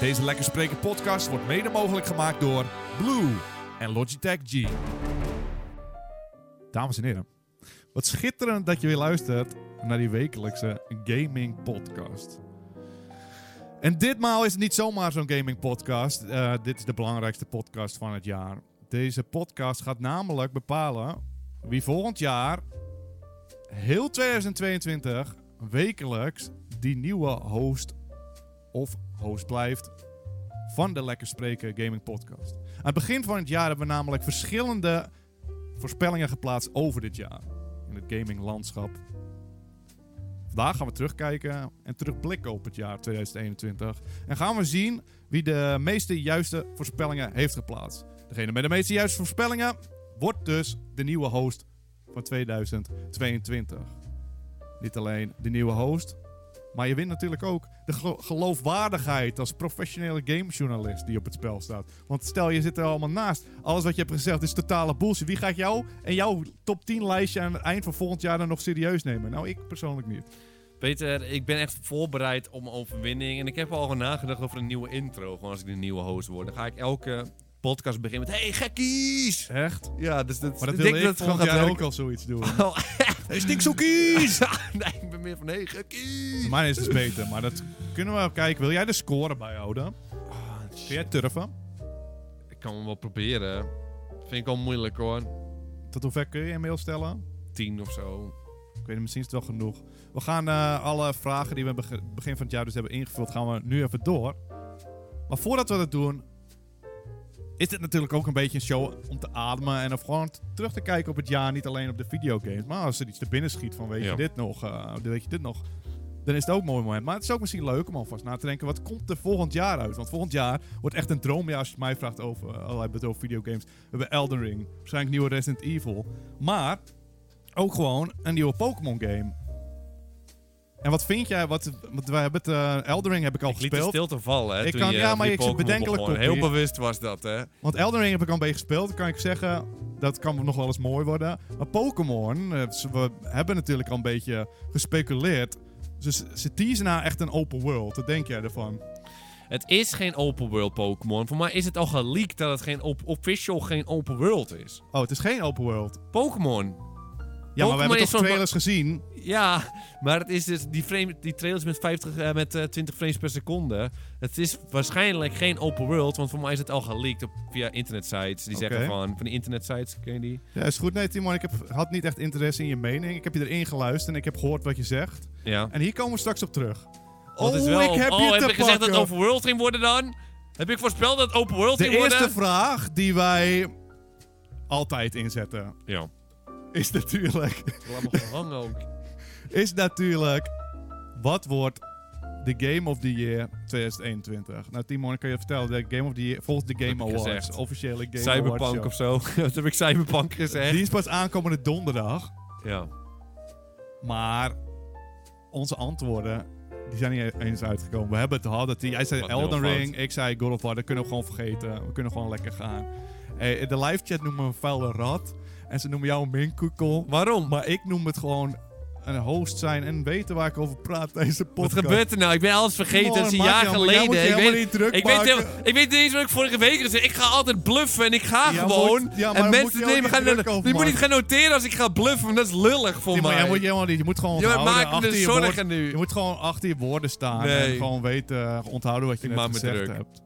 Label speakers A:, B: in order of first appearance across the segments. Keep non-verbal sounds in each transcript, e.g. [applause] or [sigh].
A: Deze Lekker Spreken podcast wordt mede mogelijk gemaakt door Blue en Logitech G. Dames en heren, wat schitterend dat je weer luistert naar die wekelijkse gaming podcast. En ditmaal is het niet zomaar zo'n gaming podcast. Eh, dit is de belangrijkste podcast van het jaar. Deze podcast gaat namelijk bepalen wie volgend jaar, heel 2022, wekelijks die nieuwe host of host blijft van de Lekker Spreken Gaming Podcast. Aan het begin van het jaar hebben we namelijk verschillende voorspellingen geplaatst over dit jaar in het gaminglandschap. Vandaag gaan we terugkijken en terugblikken op het jaar 2021 en gaan we zien wie de meeste juiste voorspellingen heeft geplaatst. Degene met de meeste juiste voorspellingen wordt dus de nieuwe host van 2022. Niet alleen de nieuwe host, maar je wint natuurlijk ook de gelo- geloofwaardigheid als professionele gamejournalist die op het spel staat. Want stel, je zit er allemaal naast. Alles wat je hebt gezegd is totale bullshit. Wie gaat jou en jouw top 10 lijstje aan het eind van volgend jaar dan nog serieus nemen? Nou, ik persoonlijk niet.
B: Peter, ik ben echt voorbereid om overwinning. En ik heb al nagedacht over een nieuwe intro. Gewoon als ik de nieuwe host word. Dan ga ik elke podcast beginnen met... Hey gekkies!
A: Echt?
B: Ja, dus dat,
A: Maar dat
B: ik
A: wil
B: denk
A: ik
B: dat het
A: volgend
B: gewoon gaat
A: jaar ook
B: werken.
A: al zoiets doen. [laughs]
B: [laughs] Oh,
A: Hey, stinkzoekies!
B: [laughs] nee, ik ben meer van... Hey gekkies!
A: Mijn is dus beter, maar dat kunnen we kijken. Wil jij de score bijhouden?
B: Ah,
A: Kun
B: shit.
A: jij turven?
B: Ik kan hem wel proberen. Vind ik al moeilijk hoor.
A: Tot hoever kun je een mail stellen?
B: Tien of zo.
A: Ik weet niet, misschien is het wel genoeg. We gaan eh, alle vragen die we beg- begin van het jaar dus hebben ingevuld, gaan we nu even door. Maar voordat we dat doen, is dit natuurlijk ook een beetje een show om te ademen en of gewoon t- terug te kijken op het jaar, niet alleen op de videogames. Maar als er iets te binnen schiet van weet je
B: Ja.
A: dit nog, eh, weet je dit nog, dan is het ook een mooi moment. Maar het is ook misschien leuk om alvast na te denken, wat komt er volgend jaar uit? Want volgend jaar wordt echt een droomjaar als je het mij vraagt over eh, allerlei het over videogames. We hebben Elden Ring, waarschijnlijk nieuwe Resident Evil. Maar ook gewoon een nieuwe Pokémon game. En wat vind jij? Wat, want wij hebben het, eh, Elden Ring heb ik al
B: Ik liet de
A: gespeeld.
B: stilte vallen hè,
A: Ik
B: toen
A: kan-
B: je
A: ja,
B: over
A: maar
B: die
A: ik zit
B: Pokémon
A: bedenkelijk
B: begon.
A: op
B: Heel
A: hier.
B: bewust was dat hè.
A: Want Elden Ring heb ik al een beetje gespeeld. Kan ik zeggen, dat kan nog wel eens mooi worden. Maar Pokémon, eh, ze- we hebben natuurlijk al een beetje gespeculeerd. Dus ze teasen naar echt een open world. Wat denk jij ervan?
B: Het is geen open world Pokémon. Voor mij is het al geleakt dat het geen op- official geen open world is.
A: Oh, het is geen open world.
B: Pokémon.
A: Ja, maar
B: Pokémon
A: we hebben
B: is
A: toch
B: zo'n-
A: trailers gezien.
B: Ja, maar het is dus die, frame, die trailers met, 50, eh, met eh, 20 frames per seconde. Het is waarschijnlijk geen open world, want voor mij is het al geleakt op, via internetsites. Die zeggen
A: Oké.
B: van, van die internetsites, ken je die?
A: Ja, is goed. Nee, Timon, ik heb, had niet echt interesse in je mening. Ik heb je erin geluisterd en ik heb gehoord wat je zegt.
B: Ja.
A: En hier komen we straks op terug.
B: Want het is wel op- oh, heb ik gezegd dat het open world ging worden dan? Heb ik voorspeld dat het open world
A: De
B: ging worden?
A: eerste vraag die wij altijd inzetten
B: Ja.
A: is natuurlijk, [laughs]
B: Laat me gewoon hangen ook.
A: is natuurlijk wat wordt de Game of the Year 2021? Nou Timon, ik kan je vertellen, de Game of the Year volgens de Game
B: heb ik
A: Awards,
B: gezegd.
A: officiële Game Awards
B: Cyberpunk
A: show.
B: of zo. [laughs] Wat heb ik Cyberpunk gezegd?
A: Die is pas aankomende donderdag,
B: Ja.
A: maar onze antwoorden die zijn niet e- eens uitgekomen. We hebben het gehad. dat die- Jij zei
B: Wat
A: Elden
B: nul
A: Ring, ik zei God of War. Dat kunnen we gewoon vergeten. We kunnen gewoon lekker gaan. Eh, de live chat noemen we een vuile rat. En ze noemen jou een minkoekel.
B: Waarom?
A: Maar ik noem het gewoon een host zijn en weten waar ik over praat tijdens de podcast.
B: Wat gebeurt er nou? Ik ben alles vergeten.
A: Come
B: Het
A: on,
B: is een
A: maak
B: jaar
A: je helemaal- jij
B: geleden.
A: moet je
B: Ik
A: helemaal
B: weet-
A: niet druk
B: ik weet,
A: maken.
B: helemaal- ik weet niet eens wat ik vorige week gezegd heb. Ik ga altijd bluffen en ik ga
A: Ja,
B: gewoon.
A: moet- ja, maar
B: en
A: moet
B: mensen
A: je ook
B: nemen
A: niet
B: gaan.
A: druk over
B: Je moet
A: maken.
B: niet gaan noteren als ik ga bluffen, want dat is lullig voor
A: Timon,
B: mij.
A: jij moet, helemaal niet, je moet gewoon
B: Je maakt
A: onthouden,
B: me
A: achter
B: dus
A: je
B: zorgen
A: woord-
B: nu.
A: Je moet gewoon achter je woorden staan en
B: Nee.
A: gewoon weten, eh, onthouden wat je
B: Ik
A: net
B: maak me
A: gezegd
B: druk.
A: hebt.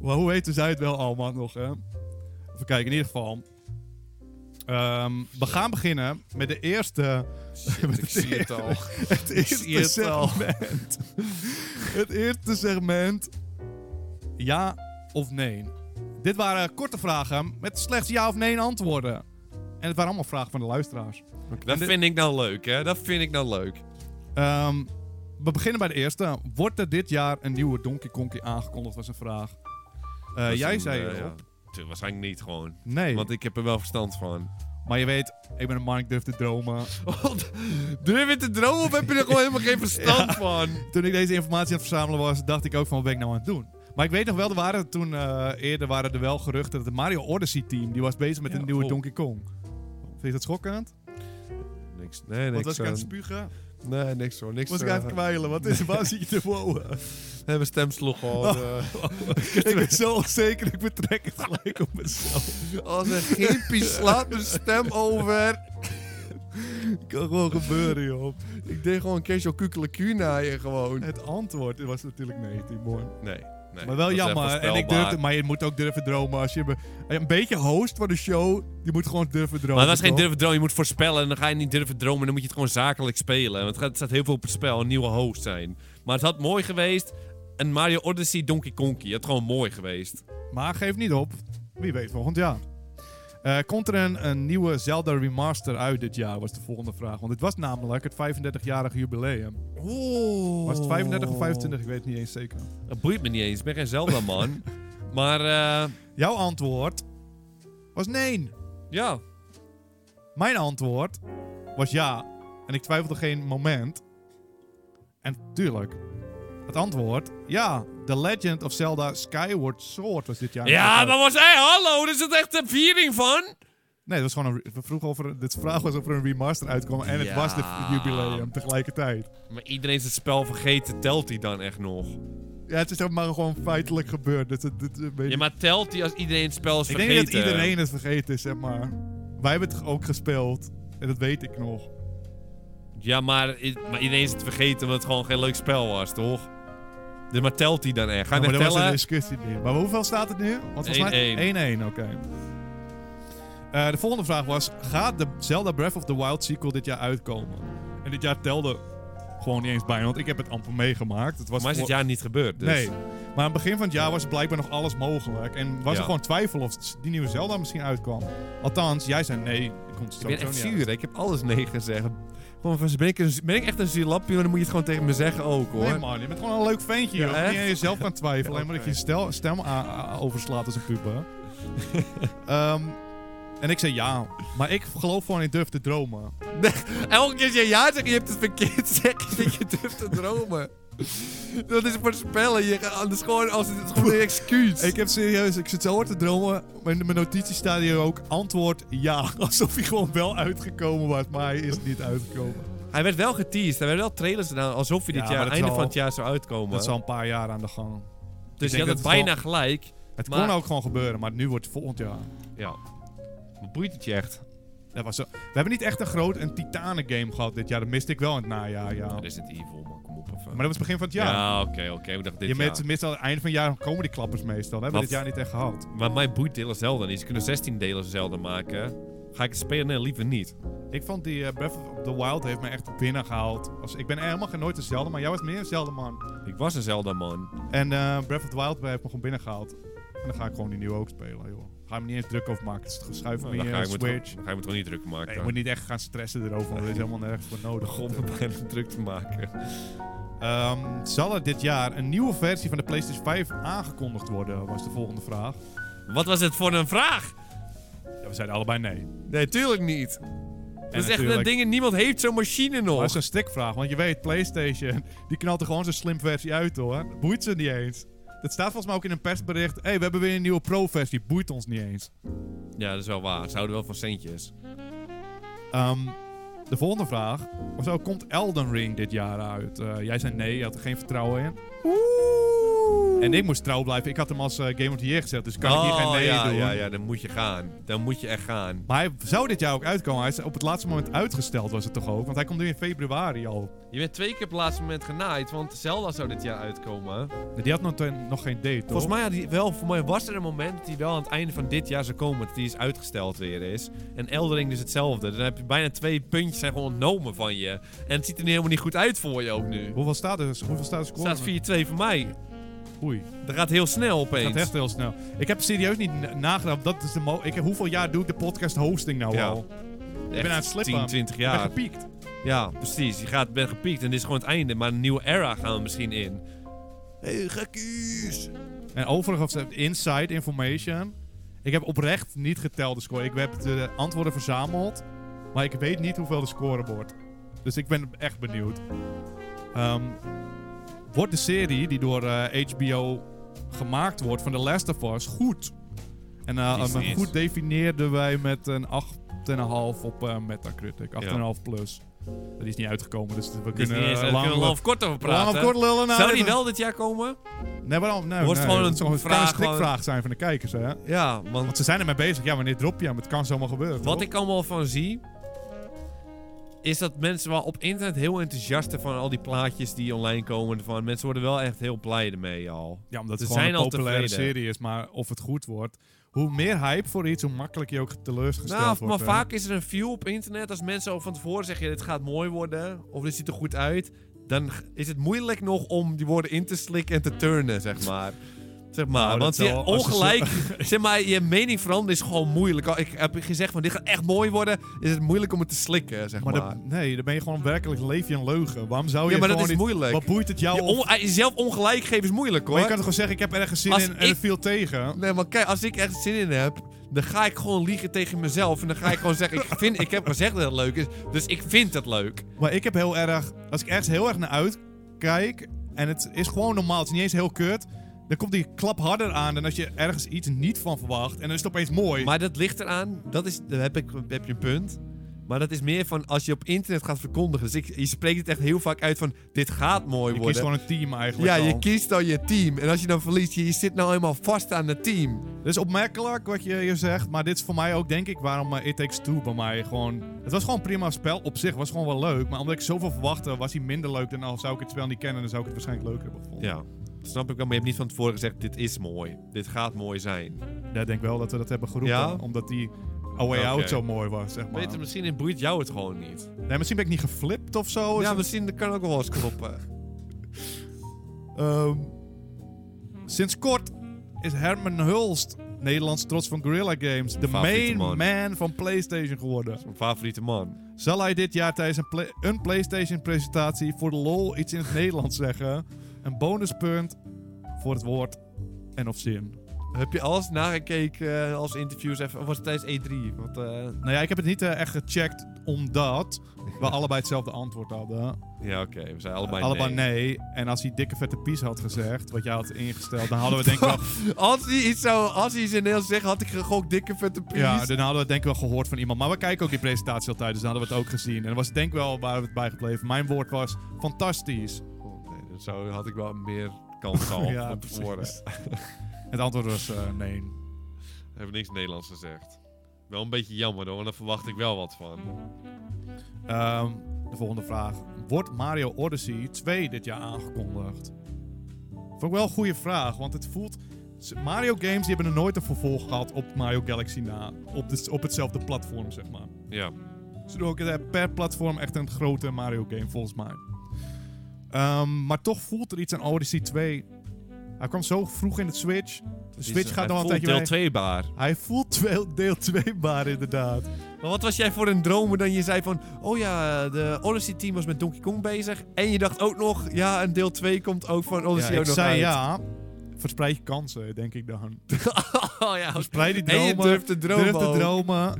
A: Maar hoe weten zij het wel allemaal nog, hè? Even kijken, in ieder geval. Ehm, we gaan beginnen met de eerste... [laughs]
B: Shit, [laughs] ik zie het al.
A: Het eerste
B: zie het al.
A: segment. [laughs] het eerste segment. Ja of nee. Dit waren korte vragen met slechts ja of nee antwoorden. En het waren allemaal vragen van de luisteraars.
B: Dat vind ik nou leuk, hè? Dat vind ik nou leuk.
A: Ehm, we beginnen bij de eerste. Wordt er dit jaar een nieuwe Donkey Konkie aangekondigd? Was een vraag. Eh,
B: Dat is
A: jij
B: een,
A: zei
B: eh,
A: erop.
B: ja. Tuur, Waarschijnlijk niet gewoon.
A: nee.
B: Want ik heb er wel verstand van. [laughs]
A: Maar je weet, ik ben een man, ik durf te dromen.
B: Durf je te dromen of heb je er gewoon helemaal
A: [laughs]
B: geen verstand van?
A: toen ik deze informatie aan het verzamelen was, dacht ik ook van wat ben ik nou aan het doen? Maar ik weet nog wel, er waren toen eh, eerder waren er wel geruchten dat het Mario Odyssey team, die was bezig met
B: Ja,
A: een nieuwe
B: klopt.
A: Donkey Kong. Vind je dat schokkend?
B: Niks. Nee,
A: Wat
B: niks.
A: was ik aan het
B: aan-
A: spugen?
B: Nee, niks hoor. Niks. eh,
A: Moest ik even kwijlen, wat is, waar zit
B: [laughs]
A: je te wonen?
B: Hebben eh.
A: Oh.
B: stemsloeg gewoon.
A: ik ben zo onzeker, ik betrek het gelijk op mezelf.
B: Als een gimpie slaat mijn stem [laughs] over.
A: kan gewoon gebeuren, joh.
B: Ik deed gewoon Keesjo Kukeleku naaien gewoon.
A: Het antwoord was natuurlijk nee, Timon.
B: Nee. nee
A: Maar wel
B: dat is
A: jammer.
B: echt
A: En ik
B: voorspelbaar.
A: durfde, maar je moet ook durven dromen. Als je be- een beetje host van de show, je moet gewoon durven dromen.
B: Maar het was geen
A: toch?
B: durven dromen. Je moet voorspellen. En dan ga je niet durven dromen. Dan moet je het gewoon zakelijk spelen. Want het gaat- er staat heel veel op het spel. Een nieuwe host zijn. Maar het had mooi geweest. Een Mario Odyssey Donkey Konky. Het had gewoon mooi geweest.
A: Maar geef niet op. Wie weet volgend jaar. Eh, komt er een, een nieuwe Zelda remaster uit dit jaar, was de volgende vraag. Want het was namelijk het 35-jarige jubileum.
B: Oeh.
A: Was het 35 of 25? Ik weet het niet eens zeker.
B: Dat boeit me niet eens. Ik ben geen Zelda
A: [laughs]
B: man. maar eh,
A: Jouw antwoord was nee.
B: ja.
A: Mijn antwoord was ja. En ik twijfelde geen moment. En tuurlijk, het antwoord, ja. The Legend of Zelda Skyward Sword was dit jaar.
B: Ja, maar was hij? hallo, er zit echt een viering van.
A: Nee, het was gewoon een... re- We vroegen of er... Dit vraag was of er een remaster uitkwam. En het
B: Ja.
A: was het jubileum tegelijkertijd.
B: Maar iedereen is het spel vergeten, telt hij dan echt nog?
A: Ja, het is zeg maar gewoon feitelijk gebeurd. Dus het, het- het- weet
B: Ja,
A: ik-
B: maar telt hij als iedereen het spel is
A: ik
B: vergeten?
A: denk dat iedereen het vergeten is, zeg maar. Wij hebben het ook gespeeld. En dat weet ik nog.
B: Ja, maar, i- maar iedereen is het vergeten omdat het gewoon geen leuk spel was, toch? Dus maar telt hij dan echt? Ga je
A: maar
B: net
A: dat was dus- een
B: tellen?
A: discussie niet. Maar hoeveel staat het nu? Want volgens mij 1-1. Oké. Eh, de volgende vraag was: gaat de Zelda Breath of the Wild sequel dit jaar uitkomen? En dit jaar telde gewoon niet eens bij, want ik heb het amper meegemaakt. Het was
B: Maar is het
A: voor-
B: jaar niet gebeurd, dus...
A: Nee. Maar aan het begin van het jaar was blijkbaar nog alles mogelijk. En was
B: Ja.
A: er gewoon twijfel of die nieuwe Zelda misschien uitkwam. Althans, jij zei nee, die komt
B: Ik
A: sowieso
B: ben echt
A: niet
B: zuur, hè. ik heb alles nee gezegd. Gewoon van, ben ik, een, ben ik echt een zielapje, dan moet je het gewoon tegen me zeggen ook, hoor.
A: uit. Nee man, je bent gewoon een leuk ventje.
B: Ja,
A: joh.
B: echt?
A: niet aan jezelf kan twijfelen.
B: Ja,
A: Alleen maar dat je
B: oké.
A: stel, stem a- a- overslaat als een
B: [laughs]
A: puber. Ehm, en ik zei ja. Maar ik geloof gewoon in durf te dromen.
B: Elke keer als je ja zegt, je hebt het verkeerd, zeg je [laughs] dat je durft te dromen. Dat is voorspellen. Je gaat anders gewoon als het het is gewoon een excuus.
A: Ik heb serieus, ik zit zo hard te dromen. Maar in mijn notities staat hier ook antwoord ja. [laughs] Alsof hij gewoon wel uitgekomen was, maar hij is niet uitgekomen.
B: Hij werd wel geteased. Hij werd wel trailers gedaan alsof hij dit
A: Ja, maar
B: jaar, aan het
A: dat
B: einde
A: zal-
B: van het jaar zou uitkomen.
A: Dat is al een paar jaar aan de gang.
B: dus je
A: denk
B: had
A: dat
B: het
A: het
B: bijna gelijk.
A: Het
B: Maar-
A: kon ook gewoon gebeuren, maar nu wordt het volgend jaar.
B: Ja. Maar boeit het je echt?
A: Dat was zo- We hebben niet echt een groot een Titanen game gehad dit jaar. Dat miste ik wel in het najaar, ja.
B: Dat is het evil, man. Kom op even.
A: Maar dat was begin van het jaar.
B: ja, oké, oké. Ik dacht dit
A: je
B: jaar.
A: met, meestal aan het eind van het jaar komen die klappers meestal. Dat hebben we
B: Wat?
A: dit jaar niet echt gehad.
B: Maar mij boeit delen zelden niet. Ze kunnen 16 delen zelden maken. Ga ik het spelen? Nee, liever niet.
A: Ik vond die eh, Breath of the Wild heeft me echt binnengehaald. Als, ik ben helemaal geen nooit dezelfde, maar jij was meer dezelfde man.
B: Ik was een Zelda man.
A: En eh, Breath of the Wild heeft me gewoon binnengehaald. En dan ga ik gewoon die nieuwe ook spelen, joh. Ga me niet eens druk over maken. Het is geschuif van
B: Nou, dan,
A: je
B: ga
A: eh,
B: ik me toch-
A: Switch.
B: dan ga ik me toch niet druk maken.
A: Nee, je moet niet echt gaan stressen erover, want er is helemaal nergens voor nodig.
B: begon me bijna druk te maken.
A: Ehm, zal er dit jaar een nieuwe versie van de PlayStation 5 aangekondigd worden? Was de volgende vraag.
B: Wat was het voor een vraag?
A: Ja, we zeiden allebei nee. En
B: Nee, tuurlijk niet. Dat is echt een
A: natuurlijk-
B: ding, niemand heeft zo'n machine nog.
A: Maar Dat is een stikvraag, want je weet, PlayStation [laughs] die knalt er gewoon zo'n slim versie uit hoor. Boeit ze niet eens. Dat staat volgens mij ook in een persbericht. Hé, hey, we hebben weer een nieuwe Pro-versie. Boeit ons niet eens.
B: Ja, dat is wel waar. Ze houden wel van centjes.
A: Ehm, de volgende vraag was ook, komt Elden Ring dit jaar uit? Eh, jij zei nee, je had er geen vertrouwen in. En ik moest trouw blijven. Ik had hem als eh, Game of the Year gezet, dus kan ik hier geen nee
B: Oh, ja,
A: doen.
B: Ja, ja, dan moet je gaan. Dan moet je echt gaan.
A: Maar hij zou dit jaar ook uitkomen. Hij is op het laatste moment uitgesteld, was het toch ook? Want hij komt nu in februari al.
B: Je bent twee keer op het laatste moment genaaid, want Zelda zou dit jaar uitkomen.
A: Die had nog, ten- nog geen date, toch?
B: Volgens mij, had die wel, voor mij was er een moment dat hij wel aan het einde van dit jaar zou komen. Dat die is uitgesteld weer is. En Eldering is hetzelfde. Dan heb je bijna twee puntjes zijn gewoon ontnomen van je. En het ziet er nu helemaal niet goed uit voor je ook nu.
A: Hoeveel staat er? Hoeveel staat de
B: Het
A: score?
B: staat 4-2 voor mij.
A: Oei,
B: Dat gaat heel snel
A: dat gaat
B: opeens.
A: echt heel snel. Ik heb serieus niet na- nagedacht. Dat is de mo ik, hoeveel jaar doe ik de podcast hosting nou
B: Ja.
A: al? Ik ben aan het slippen.
B: 10, 20
A: ben
B: jaar.
A: gepiekt.
B: Ja, precies. Je gaat, bent gepiekt en dit is gewoon het einde. Maar een nieuwe era gaan we misschien in. Hé, hey, gekkies.
A: En overigens, eh, inside information. Ik heb oprecht niet geteld de score. Ik heb de antwoorden verzameld. Maar ik weet niet hoeveel de score wordt. Dus ik ben echt benieuwd. Ehm, wordt de serie die door eh, HBO gemaakt wordt van The Last of Us goed? En eh,
B: Die is
A: eh,
B: niet.
A: goed definieerden wij met een 8,5 op eh, Metacritic. 8,5 plus. Die is niet uitgekomen, dus we
B: Dus
A: kunnen
B: niet eens,
A: eh,
B: daar
A: lang,
B: kunnen we lang of kort over praten.
A: lang of kort lullen. nou,
B: Zou
A: dit
B: die
A: is-
B: wel dit jaar komen?
A: Nee, waarom? Nee,
B: Wordt
A: nee,
B: gewoon
A: dat
B: een
A: zou het kan
B: vraag,
A: een schrikvraag zijn van de kijkers. Hè?
B: Ja, want
A: Want ze zijn ermee bezig. Ja, wanneer drop je hem? Het kan zomaar gebeuren.
B: Wat
A: toch?
B: ik allemaal van zie, is dat mensen wel op internet heel enthousiast zijn van al die plaatjes die online komen. Van. Mensen worden wel echt heel blij ermee al.
A: Ja, omdat
B: Ze
A: het gewoon
B: zijn
A: een
B: al
A: populaire
B: tevreden.
A: serie is. Maar of het goed wordt... Hoe meer hype voor iets, hoe makkelijk je ook teleurgesteld
B: Nou, maar
A: wordt. hè.
B: vaak is er een view op internet als mensen al van tevoren zeggen, dit gaat mooi worden, of dit ziet er goed uit. Dan g- is het moeilijk nog om die woorden in te slikken en te turnen, zeg maar. Zeg maar,
A: Nou, dat
B: want je
A: wel, als je zo-
B: ongelijk,
A: [laughs]
B: zeg maar, je mening veranderen is gewoon moeilijk. Al Ik heb gezegd van, dit gaat echt mooi worden, is het moeilijk om het te slikken, zeg maar.
A: Maar dat- nee, dan ben je gewoon werkelijk leef je een leugen. Waarom zou je
B: ja, maar dat
A: gewoon
B: is
A: niet...
B: moeilijk.
A: Wat boeit het jou?
B: Je
A: of-
B: on- eh, jezelf ongelijk geven is moeilijk hoor.
A: maar je kan toch gewoon zeggen, ik heb ergens zin
B: Als
A: in en
B: ik-
A: het viel tegen.
B: Nee, maar kijk, als ik echt zin in heb, dan ga ik gewoon liegen tegen mezelf. En dan ga ik gewoon zeggen, ik, vind, ik heb gezegd dat het leuk is, dus ik vind het leuk.
A: Maar ik heb heel erg... Als ik ergens heel erg naar uitkijk... En het is gewoon normaal, het is niet eens heel kut... Dan komt die klap harder aan dan als je ergens iets niet van verwacht. En dan is het opeens mooi.
B: Maar dat ligt eraan, dat is, daar heb, ik, heb je een punt. Maar dat is meer van als je op internet gaat verkondigen. Dus ik, je spreekt het echt heel vaak uit van, dit gaat mooi
A: je kiest
B: worden.
A: gewoon een team eigenlijk
B: ja, je
A: al.
B: kiest dan je team. En als je dan verliest, je, je zit nou eenmaal vast aan het team.
A: Dat is opmerkelijk wat je hier zegt, maar dit is voor mij ook denk ik waarom eh, It Takes Two bij mij gewoon... Het was gewoon een prima spel op zich, was gewoon wel leuk. Maar omdat ik zoveel verwachtte, was hij minder leuk dan al zou ik het spel niet kennen. Dan zou ik het waarschijnlijk leuker hebben gevonden.
B: Ja, dat snap ik wel. Maar je hebt niet van tevoren gezegd, dit is mooi. Dit gaat mooi zijn.
A: Ja, ik denk wel dat we dat hebben geroepen,
B: Ja?
A: omdat die A Way
B: Oké.
A: Out zo mooi was, zeg maar.
B: Peter, misschien boeit jou het gewoon niet.
A: Nee, misschien ben ik niet geflipt of zo.
B: ja,
A: Is-
B: misschien kan ook wel eens kloppen.
A: Ehm, sinds kort is Herman Hulst, Nederlands trots van Guerrilla Games, de
B: Favoriete
A: main
B: man.
A: man van PlayStation geworden.
B: Mijn favoriete man.
A: Zal hij dit jaar tijdens een, pla- een PlayStation-presentatie voor de lol iets in het [laughs] Nederlands zeggen? Een bonuspunt voor het woord en of zin.
B: Heb je alles nagekeken eh, als interviews even? Of was het tijdens E3? Want, eh,
A: Nou ja, ik heb het niet eh, echt gecheckt omdat
B: [laughs]
A: we allebei hetzelfde antwoord hadden.
B: ja, oké. we zijn allebei,
A: allebei
B: nee.
A: nee. En als hij dikke vette pies had gezegd, wat jij had ingesteld, dan
B: [laughs]
A: hadden we denk ik wel,
B: Als hij iets zou, als hij iets in Nederlands zegt, had ik gegokt dikke vette pies.
A: ja, dan hadden we het denk ik wel gehoord van iemand. Maar we kijken ook die presentatie altijd, dus dan hadden we het ook gezien. En dan was het denk ik wel waar we het bij gebleven. Mijn woord was fantastisch.
B: Oh, nee, dan zou, had ik wel meer kans [laughs] gehad
A: Ja,
B: van tevoren.
A: precies. Het antwoord was eh, nee.
B: Ik heb niks Nederlands gezegd. Wel een beetje jammer hoor, want daar verwacht ik wel wat van.
A: Ehm, de volgende vraag. Wordt Mario Odyssey 2 dit jaar aangekondigd? Vond ik wel een goede vraag, want het voelt... s- Mario games die hebben er nooit een vervolg gehad op Mario Galaxy na. Op, de, op hetzelfde platform, zeg maar.
B: Ja.
A: Ze doen ook eh, per platform echt een grote Mario game, volgens mij. Ehm, maar toch voelt er iets aan Odyssey 2. Hij kwam zo vroeg in de Switch. De Switch gaat nog wel een tijdje
B: deel
A: weg.
B: 2 baar.
A: Hij voelt twee- deel 2 maar inderdaad.
B: Maar wat was jij voor een dromer dan je zei van... Oh ja, de Odyssey-team was met Donkey Kong bezig. En je dacht ook nog... Ja, en deel 2 komt ook van Odyssey
A: Ja,
B: ook
A: ik
B: nog
A: zei
B: uit. [laughs]
A: ja. Verspreid je kansen, denk ik dan.
B: oh ja, [laughs]
A: Verspreid die
B: en je
A: dromen.
B: durft te dromen
A: durf
B: ook.
A: te dromen.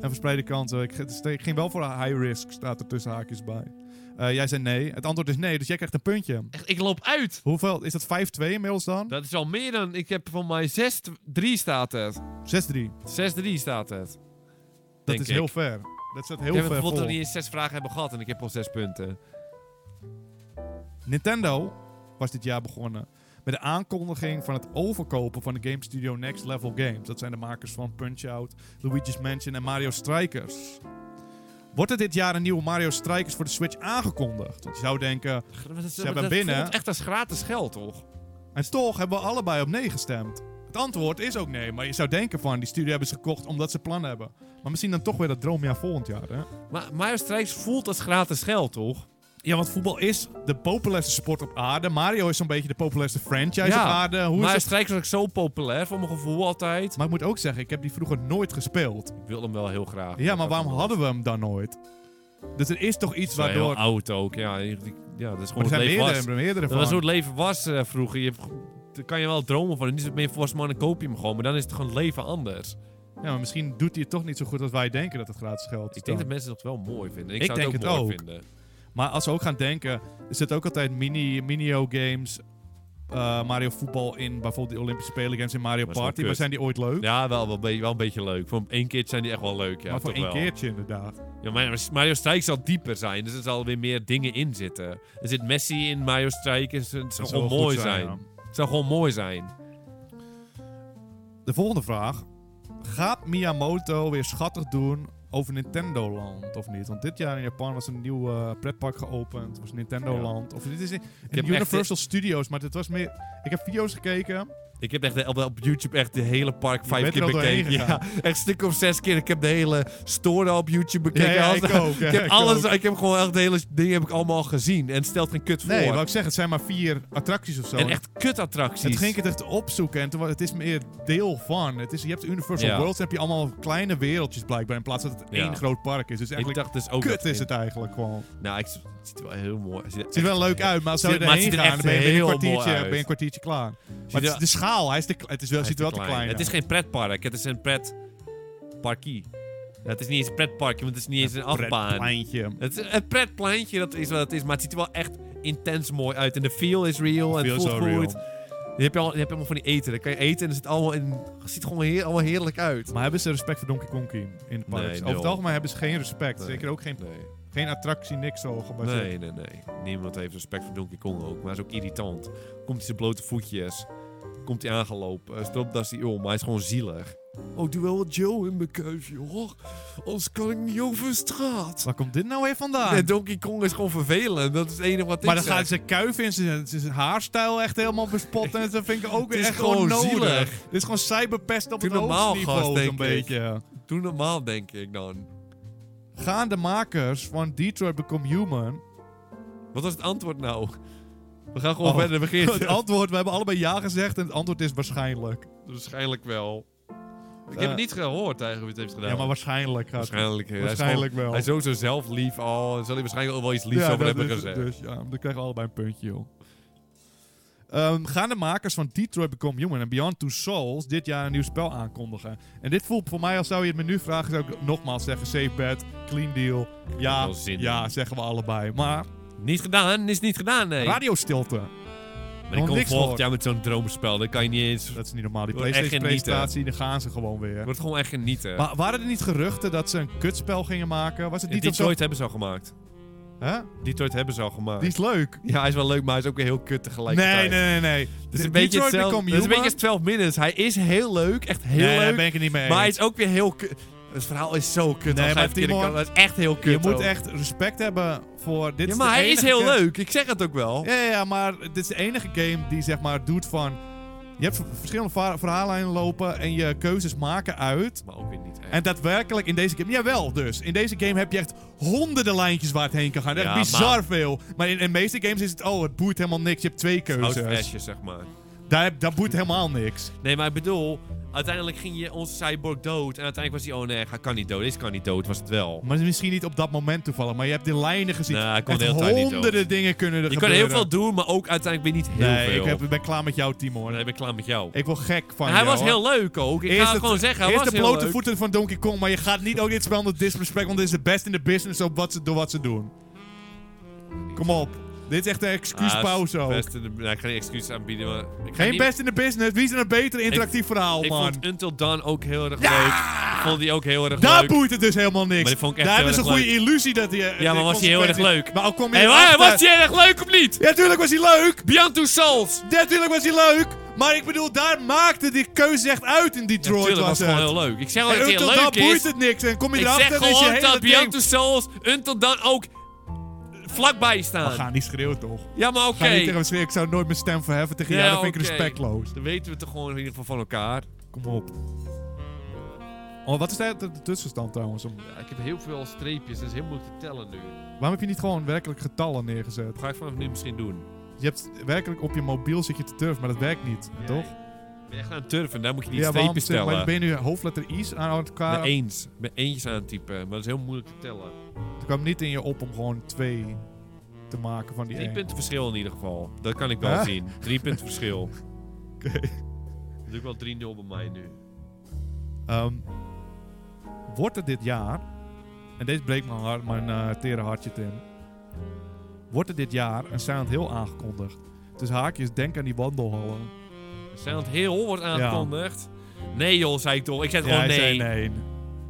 A: En verspreid de kansen. Ik, ge- dus ik ging wel voor een high risk, staat er tussen haakjes bij. Eh, jij zei nee. Het antwoord is nee, dus jij krijgt een puntje.
B: Echt, ik loop uit.
A: Hoeveel? Is dat 5-2 inmiddels dan?
B: Dat is al meer dan... Ik heb van mij 6-3 staat het.
A: 6-3.
B: 6-3 staat het.
A: Dat
B: Denk
A: is
B: ik.
A: heel ver. Dat staat heel
B: ik heb
A: ver
B: bijvoorbeeld
A: voor.
B: nog niet eens 6 vragen hebben gehad. En ik heb al 6 punten.
A: Nintendo was dit jaar begonnen met de aankondiging van het overkopen van de game studio Next Level Games. Dat zijn de makers van Punch-Out, Luigi's Mansion en Mario Strikers. Wordt er dit jaar een nieuwe Mario Strikers voor de Switch aangekondigd? Want je zou denken,
B: Ze
A: hebben binnen-
B: voelt echt als gratis geld, toch?
A: en toch hebben we allebei op nee gestemd. Het antwoord is ook nee, maar je zou denken van, die studio hebben ze gekocht omdat ze plannen hebben. Maar misschien dan toch weer dat droomjaar volgend jaar, hè?
B: Maar Mario Strikes voelt als gratis geld, toch?
A: Ja, want voetbal is de populairste sport op aarde. Mario is zo'n beetje de populairste franchise
B: Ja,
A: op aarde. Hoe is
B: Mario
A: het
B: Strikes was ook zo populair, voor mijn gevoel altijd.
A: Maar ik moet ook zeggen, ik heb die vroeger nooit gespeeld.
B: Ik wil hem wel heel graag.
A: Ja, maar waarom hadden we hem dan nooit? Dus er is toch iets
B: Het is wel
A: waardoor...
B: heel oud ook, ja. die- die- Ja, dat is
A: Maar
B: gewoon
A: er
B: hoe
A: zijn
B: het leven
A: meerdere,
B: was.
A: meerdere
B: Dat was hoe
A: van.
B: het leven was eh, vroeger. Je, hebt ge- daar kan je wel dromen van. Nu is het meer volgens mij, dan koop je hem gewoon. Maar dan is het gewoon het leven anders.
A: Ja, maar misschien doet hij het toch niet zo goed als wij denken dat het gratis geld is.
B: Ik denk dat
A: dan.
B: mensen het wel mooi vinden. Ik,
A: Ik
B: zou het
A: denk
B: ook
A: het
B: mooi
A: ook.
B: vinden.
A: Maar als we ook gaan denken, is het ook altijd mini, mini-games eh, Mario voetbal in bijvoorbeeld de Olympische Spelen games in Mario
B: Maar is wel
A: Party.
B: kut.
A: Maar zijn die ooit leuk?
B: Ja, wel, wel, be- wel een beetje leuk. Voor één keer zijn die echt wel leuk. Ja,
A: maar voor
B: toch
A: één
B: wel.
A: keertje inderdaad.
B: Ja, maar Mario Strike zal dieper zijn, dus er zal weer meer dingen in zitten. Er zit Messi in Mario Strike, dus het
A: wel
B: zou gewoon
A: goed
B: mooi zijn.
A: ja.
B: Het zou gewoon mooi zijn.
A: De volgende vraag. Gaat Miyamoto weer schattig doen over Nintendo Land of niet? Want dit jaar in Japan was een nieuw eh, pretpark geopend. was Nintendo
B: Ja.
A: Land. Of dit is in, in
B: heb echt-
A: Universal Studios, maar dit was meer... Ik heb video's gekeken.
B: Ik heb echt de- op, op YouTube echt de hele park vijf
A: bent er
B: keer
A: al doorheen
B: bekeken. Ja, echt stuk of zes keer. Ik heb de hele store op YouTube bekeken. Alles-
A: ook. ja,
B: [laughs] ik
A: [laughs]
B: heb
A: ik
B: alles,
A: ook.
B: ik heb gewoon echt de hele ding heb ik allemaal gezien. En het stelt geen kut voor.
A: Nee, wou ik zeggen, het zijn maar vier attracties of zo.
B: en echt kutattracties.
A: Het ging ik het echt opzoeken en toen, wa- het is meer deel van. Het is, je hebt Universal
B: Ja.
A: Worlds, dan heb je allemaal kleine wereldjes blijkbaar. In plaats dat het
B: Ja.
A: één groot park is. Dus
B: ik
A: eigenlijk,
B: dacht dus ook.
A: kut
B: dat-
A: is het eigenlijk gewoon.
B: Nou, ik, het ziet er wel heel mooi het ziet.
A: Het ziet er wel leuk uit, maar als zou je
B: Zit- maar het
A: erheen
B: ziet er
A: gaan, dan
B: echt
A: ben je binnen een
B: heel mooi
A: kwartiertje,
B: uit.
A: ben je een kwartiertje klaar.
B: ziet
A: Maar het
B: er-
A: is de schaal, hij is te, kle- het is wel,
B: hij
A: ziet
B: is
A: er wel te klein
B: Het
A: uit.
B: is geen pretpark, het is een pretparkie. Ja, het is niet eens een pretparkje, want het is niet eens een achtbaan.
A: pretpleintje.
B: Het is een pretpleintje, dat is wat het is. Maar het ziet er wel echt intens mooi uit. En de feel is real en
A: Feel
B: het
A: is
B: voelt
A: wel real.
B: goed. Je hebt, al, je hebt allemaal van die eten. Dan kan je eten en het, zit allemaal in, het ziet gewoon heer, allemaal heerlijk uit.
A: Maar hebben ze respect voor Donkey Kong in het park?
B: Nee,
A: Over het
B: nul.
A: algemeen hebben ze geen respect.
B: Nee.
A: Zeker ook geen,
B: Nee.
A: geen attractie, niks zo gebaseerd.
B: Nee, nee, nee. Niemand heeft respect voor Donkey Kong ook. Maar hij is ook irritant. Komt hij zijn blote voetjes. Komt hij aangelopen. Uh, Stop, dat is die om. Maar hij is gewoon zielig. Oh, doe wel wat Joe in mijn kuifje, hoor. Anders kan ik niet over straat.
A: Waar komt dit nou weer vandaan?
B: Nee, Donkey Kong is gewoon vervelend. Dat is het enige wat
A: maar
B: ik
A: dan gaat
B: zeg.
A: zijn kuif in zijn, zijn haarstijl echt helemaal bespot. En dat vind ik ook
B: [laughs] Het is
A: echt gewoon
B: gewoon
A: nodig.
B: zielig.
A: Dit is gewoon cyberpest op
B: Doe
A: het
B: normaal,
A: hoogste niveau
B: gast,
A: zo'n
B: denk ik.
A: beetje.
B: Doe normaal, denk ik dan.
A: Gaan de makers van Detroit Become Human...
B: Wat was het antwoord nou? We gaan gewoon
A: Oh. [laughs]
B: verder [laughs]
A: Het
B: beginnen.
A: antwoord, we hebben allebei ja gezegd en het antwoord is waarschijnlijk.
B: Waarschijnlijk wel. Ik
A: Eh,
B: heb het niet gehoord eigenlijk wie het heeft gedaan.
A: Ja, maar waarschijnlijk gaat het.
B: waarschijnlijk, eh, hij is
A: Waarschijnlijk wel.
B: Hij is sowieso zelf lief al. en zal hij waarschijnlijk ook wel iets liefs
A: ja,
B: over
A: dat
B: hebben
A: is het
B: gezegd.
A: Dus ja, dan krijgen we allebei een puntje, joh. Ehm, gaan de makers van Detroit Become Human en Beyond Two Souls dit jaar een nieuw spel aankondigen? En dit voelt voor mij, als zou je het menu vragen, zou ik nogmaals zeggen: safe bet, clean deal. Ja,
B: Wel zin in.
A: ja zeggen we allebei. Maar
B: Niet gedaan, is niet gedaan, nee.
A: radiostilte,
B: maar
A: nog
B: ik kom
A: niks
B: volgend
A: gehoord.
B: jaar met zo'n droomspel, dat kan je niet eens...
A: dat is niet normaal. Die
B: Wordt echt
A: PlayStation-presentatie, daar gaan ze gewoon weer.
B: wordt gewoon echt genieten.
A: Maar waren er niet geruchten dat ze een kutspel gingen maken? Was het
B: En
A: niet of zo?
B: Detroit hebben ze al gemaakt.
A: Hè?
B: Detroit hebben ze al gemaakt.
A: Die is leuk.
B: Ja, hij is wel leuk, maar hij is ook weer heel kut
A: Nee,
B: tegelijkertijd.
A: nee, nee, nee.
B: Het is een beetje
A: Detroit
B: hetzelfde.
A: Become
B: Het is een beetje
A: Human?
B: als 12 Minutes. Hij is heel leuk, echt heel
A: nee, daar
B: leuk.
A: ben ik het niet mee
B: Maar
A: eens.
B: hij is ook weer heel kut. Het verhaal is zo kut.
A: Nee,
B: als
A: maar
B: hij verkeerde
A: Timon,
B: kant- dat is echt heel kut.
A: Je moet
B: ook.
A: echt respect hebben voor dit.
B: ja, maar
A: de
B: hij is
A: enige
B: heel
A: game-
B: leuk. Ik zeg het ook wel.
A: Ja, ja, ja, maar dit is de enige game die zeg maar doet van. Je hebt v- verschillende va- verhaallijnen lopen en je keuzes maken uit.
B: Maar ook weer niet echt.
A: En daadwerkelijk in deze game. Jawel, dus. In deze game heb je echt honderden lijntjes waar het heen kan gaan. Echt
B: Ja,
A: bizar veel. Maar in, in meeste games is het. Oh, het boeit helemaal niks. Je hebt twee
B: Oud
A: keuzes.
B: flesje, zeg maar.
A: Daar, heb- dat boeit helemaal niks.
B: Nee, maar ik bedoel, uiteindelijk ging je onze cyborg dood. En uiteindelijk was hij, oh nee, hij kan niet dood. Deze kan niet dood, was het wel.
A: Maar misschien niet op dat moment toevallig. Maar je hebt de lijnen gezien.
B: Nou, hij kon
A: Echt
B: de hele tijd niet dood.
A: honderden dingen kunnen er
B: Je kan
A: gebeuren.
B: heel veel doen, maar ook uiteindelijk weer niet heel
A: Nee,
B: veel.
A: ik heb, ik ben klaar met jou, Timor.
B: Maar dan ben ik klaar met jou.
A: Ik wil gek van
B: En hij
A: jou,
B: was
A: hoor.
B: heel leuk ook. Ik ga
A: het-
B: het gewoon zeggen, hij
A: eerst
B: was
A: de
B: heel
A: blote
B: leuk.
A: voeten van Donkey Kong, maar je gaat niet ook dit spel onder disrespect, want dit is de best in de business op wat ze, door wat ze doen. Kom op. Dit is echt een
B: Ah,
A: excuuspauze ook.
B: best in de- nou, ik ga geen excuus aanbieden, maar... Ik ga
A: Geen
B: niet-
A: best in de business. Wie is er een beter interactief verhaal,
B: Ik
A: man?
B: vond Until Dawn ook heel erg
A: Ja!
B: leuk. Ik vond die ook heel erg
A: Daar
B: leuk.
A: boeit het dus helemaal niks.
B: Maar die vond ik echt
A: Daar
B: heel
A: hebben ze een
B: erg
A: goede illusie dat hij...
B: Ja, maar was hij heel erg leuk?
A: Maar ook kom je
B: Hey,
A: erachter-
B: waar- was die erg leuk of niet?
A: Ja, tuurlijk was hij leuk.
B: Beyond Two Souls!
A: Ja, tuurlijk was hij leuk. Maar ik bedoel, daar maakte die keuze echt uit in Detroit,
B: Natuurlijk was
A: was,
B: het
A: het.
B: gewoon heel leuk. Ik zeg al
A: En
B: dat het
A: Until
B: heel
A: dan
B: leuk
A: boeit
B: is.
A: het niks. En kom je
B: Ik
A: erachter,
B: zeg
A: dan is je
B: gewoon
A: hele
B: dat Beyond
A: ding-
B: Two Souls Until Dawn ook vlakbij
A: We
B: staan.
A: gaan niet schreeuwen, toch?
B: Ja, maar oké.
A: Ga niet tegen hem schreeuwen, ik zou nooit mijn stem verheffen tegen
B: Ja,
A: jou. Dat vind ik
B: oké.
A: respectloos.
B: Dan weten we het toch gewoon in ieder geval van elkaar.
A: Kom op. Oh, wat is daar de, de tussenstand trouwens? Om-
B: Ja, ik heb heel veel streepjes, dus heel moeilijk te tellen nu.
A: Waarom heb je niet gewoon werkelijk getallen neergezet?
B: Dat ga ik vanaf nu misschien doen.
A: Je hebt werkelijk op je mobiel zit je te turf, maar dat werkt niet, toch?
B: Ik ben echt aan het turven, daar moet je niet
A: ja, waarom
B: streepjes
A: zit, maar
B: tellen.
A: ben je nu hoofdletter I's aan elkaar?
B: Met eens. Met eentjes aan het typen, maar dat is heel moeilijk te tellen.
A: Het kwam niet in je op om gewoon twee te maken van die
B: Drie
A: één.
B: punten verschil in ieder geval. Dat kan ik wel
A: Huh?
B: zien. Drie punten verschil.
A: [laughs] Oké.
B: Dat doe ik wel 3-0 bij mij nu.
A: Ehm, wordt het dit jaar, en deze breekt mijn, hart, mijn eh, tere hartje, Tim. Wordt er dit jaar een Silent Hill aangekondigd? tussen haakjes, denk aan die wandelhallen.
B: Oh, Silent Hill wordt aangekondigd. Nee joh, zei ik toch. Ik zei gewoon
A: hij
B: nee.
A: zei nee.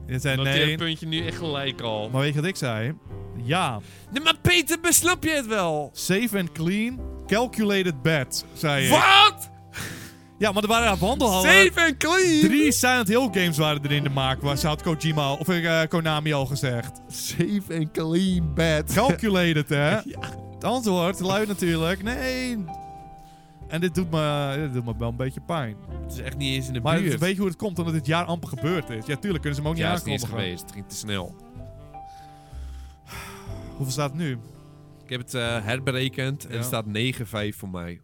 A: Hij zei
B: Noteer het
A: nee.
B: puntje nu echt gelijk al.
A: Maar weet je wat ik zei? Ja,
B: Nee, maar Peter, beslap je het wel?
A: safe and clean, calculated bets, zei ik.
B: Wat?
A: Ja, maar er waren wandelhallen.
B: Safe and clean?
A: Drie Silent Hill games waren er in de maak, was, had Kojima al- of eh, Konami al gezegd.
B: Safe and clean
A: [laughs]
B: bed.
A: Calculated,
B: [laughs]
A: hè? Het antwoord luidt natuurlijk nee. En dit doet, me, dit doet me wel een beetje pijn.
B: Het is echt niet eens in de
A: Maar
B: buurt.
A: weet je hoe het komt? Omdat dit jaar amper gebeurd is. Ja, tuurlijk kunnen ze hem ook
B: ja, het
A: niet
B: is niet
A: aankondigen.
B: eens geweest. Het ging te snel.
A: Hoeveel staat het nu?
B: Ik heb het eh, herberekend en
A: Ja.
B: het staat 9-5 voor mij.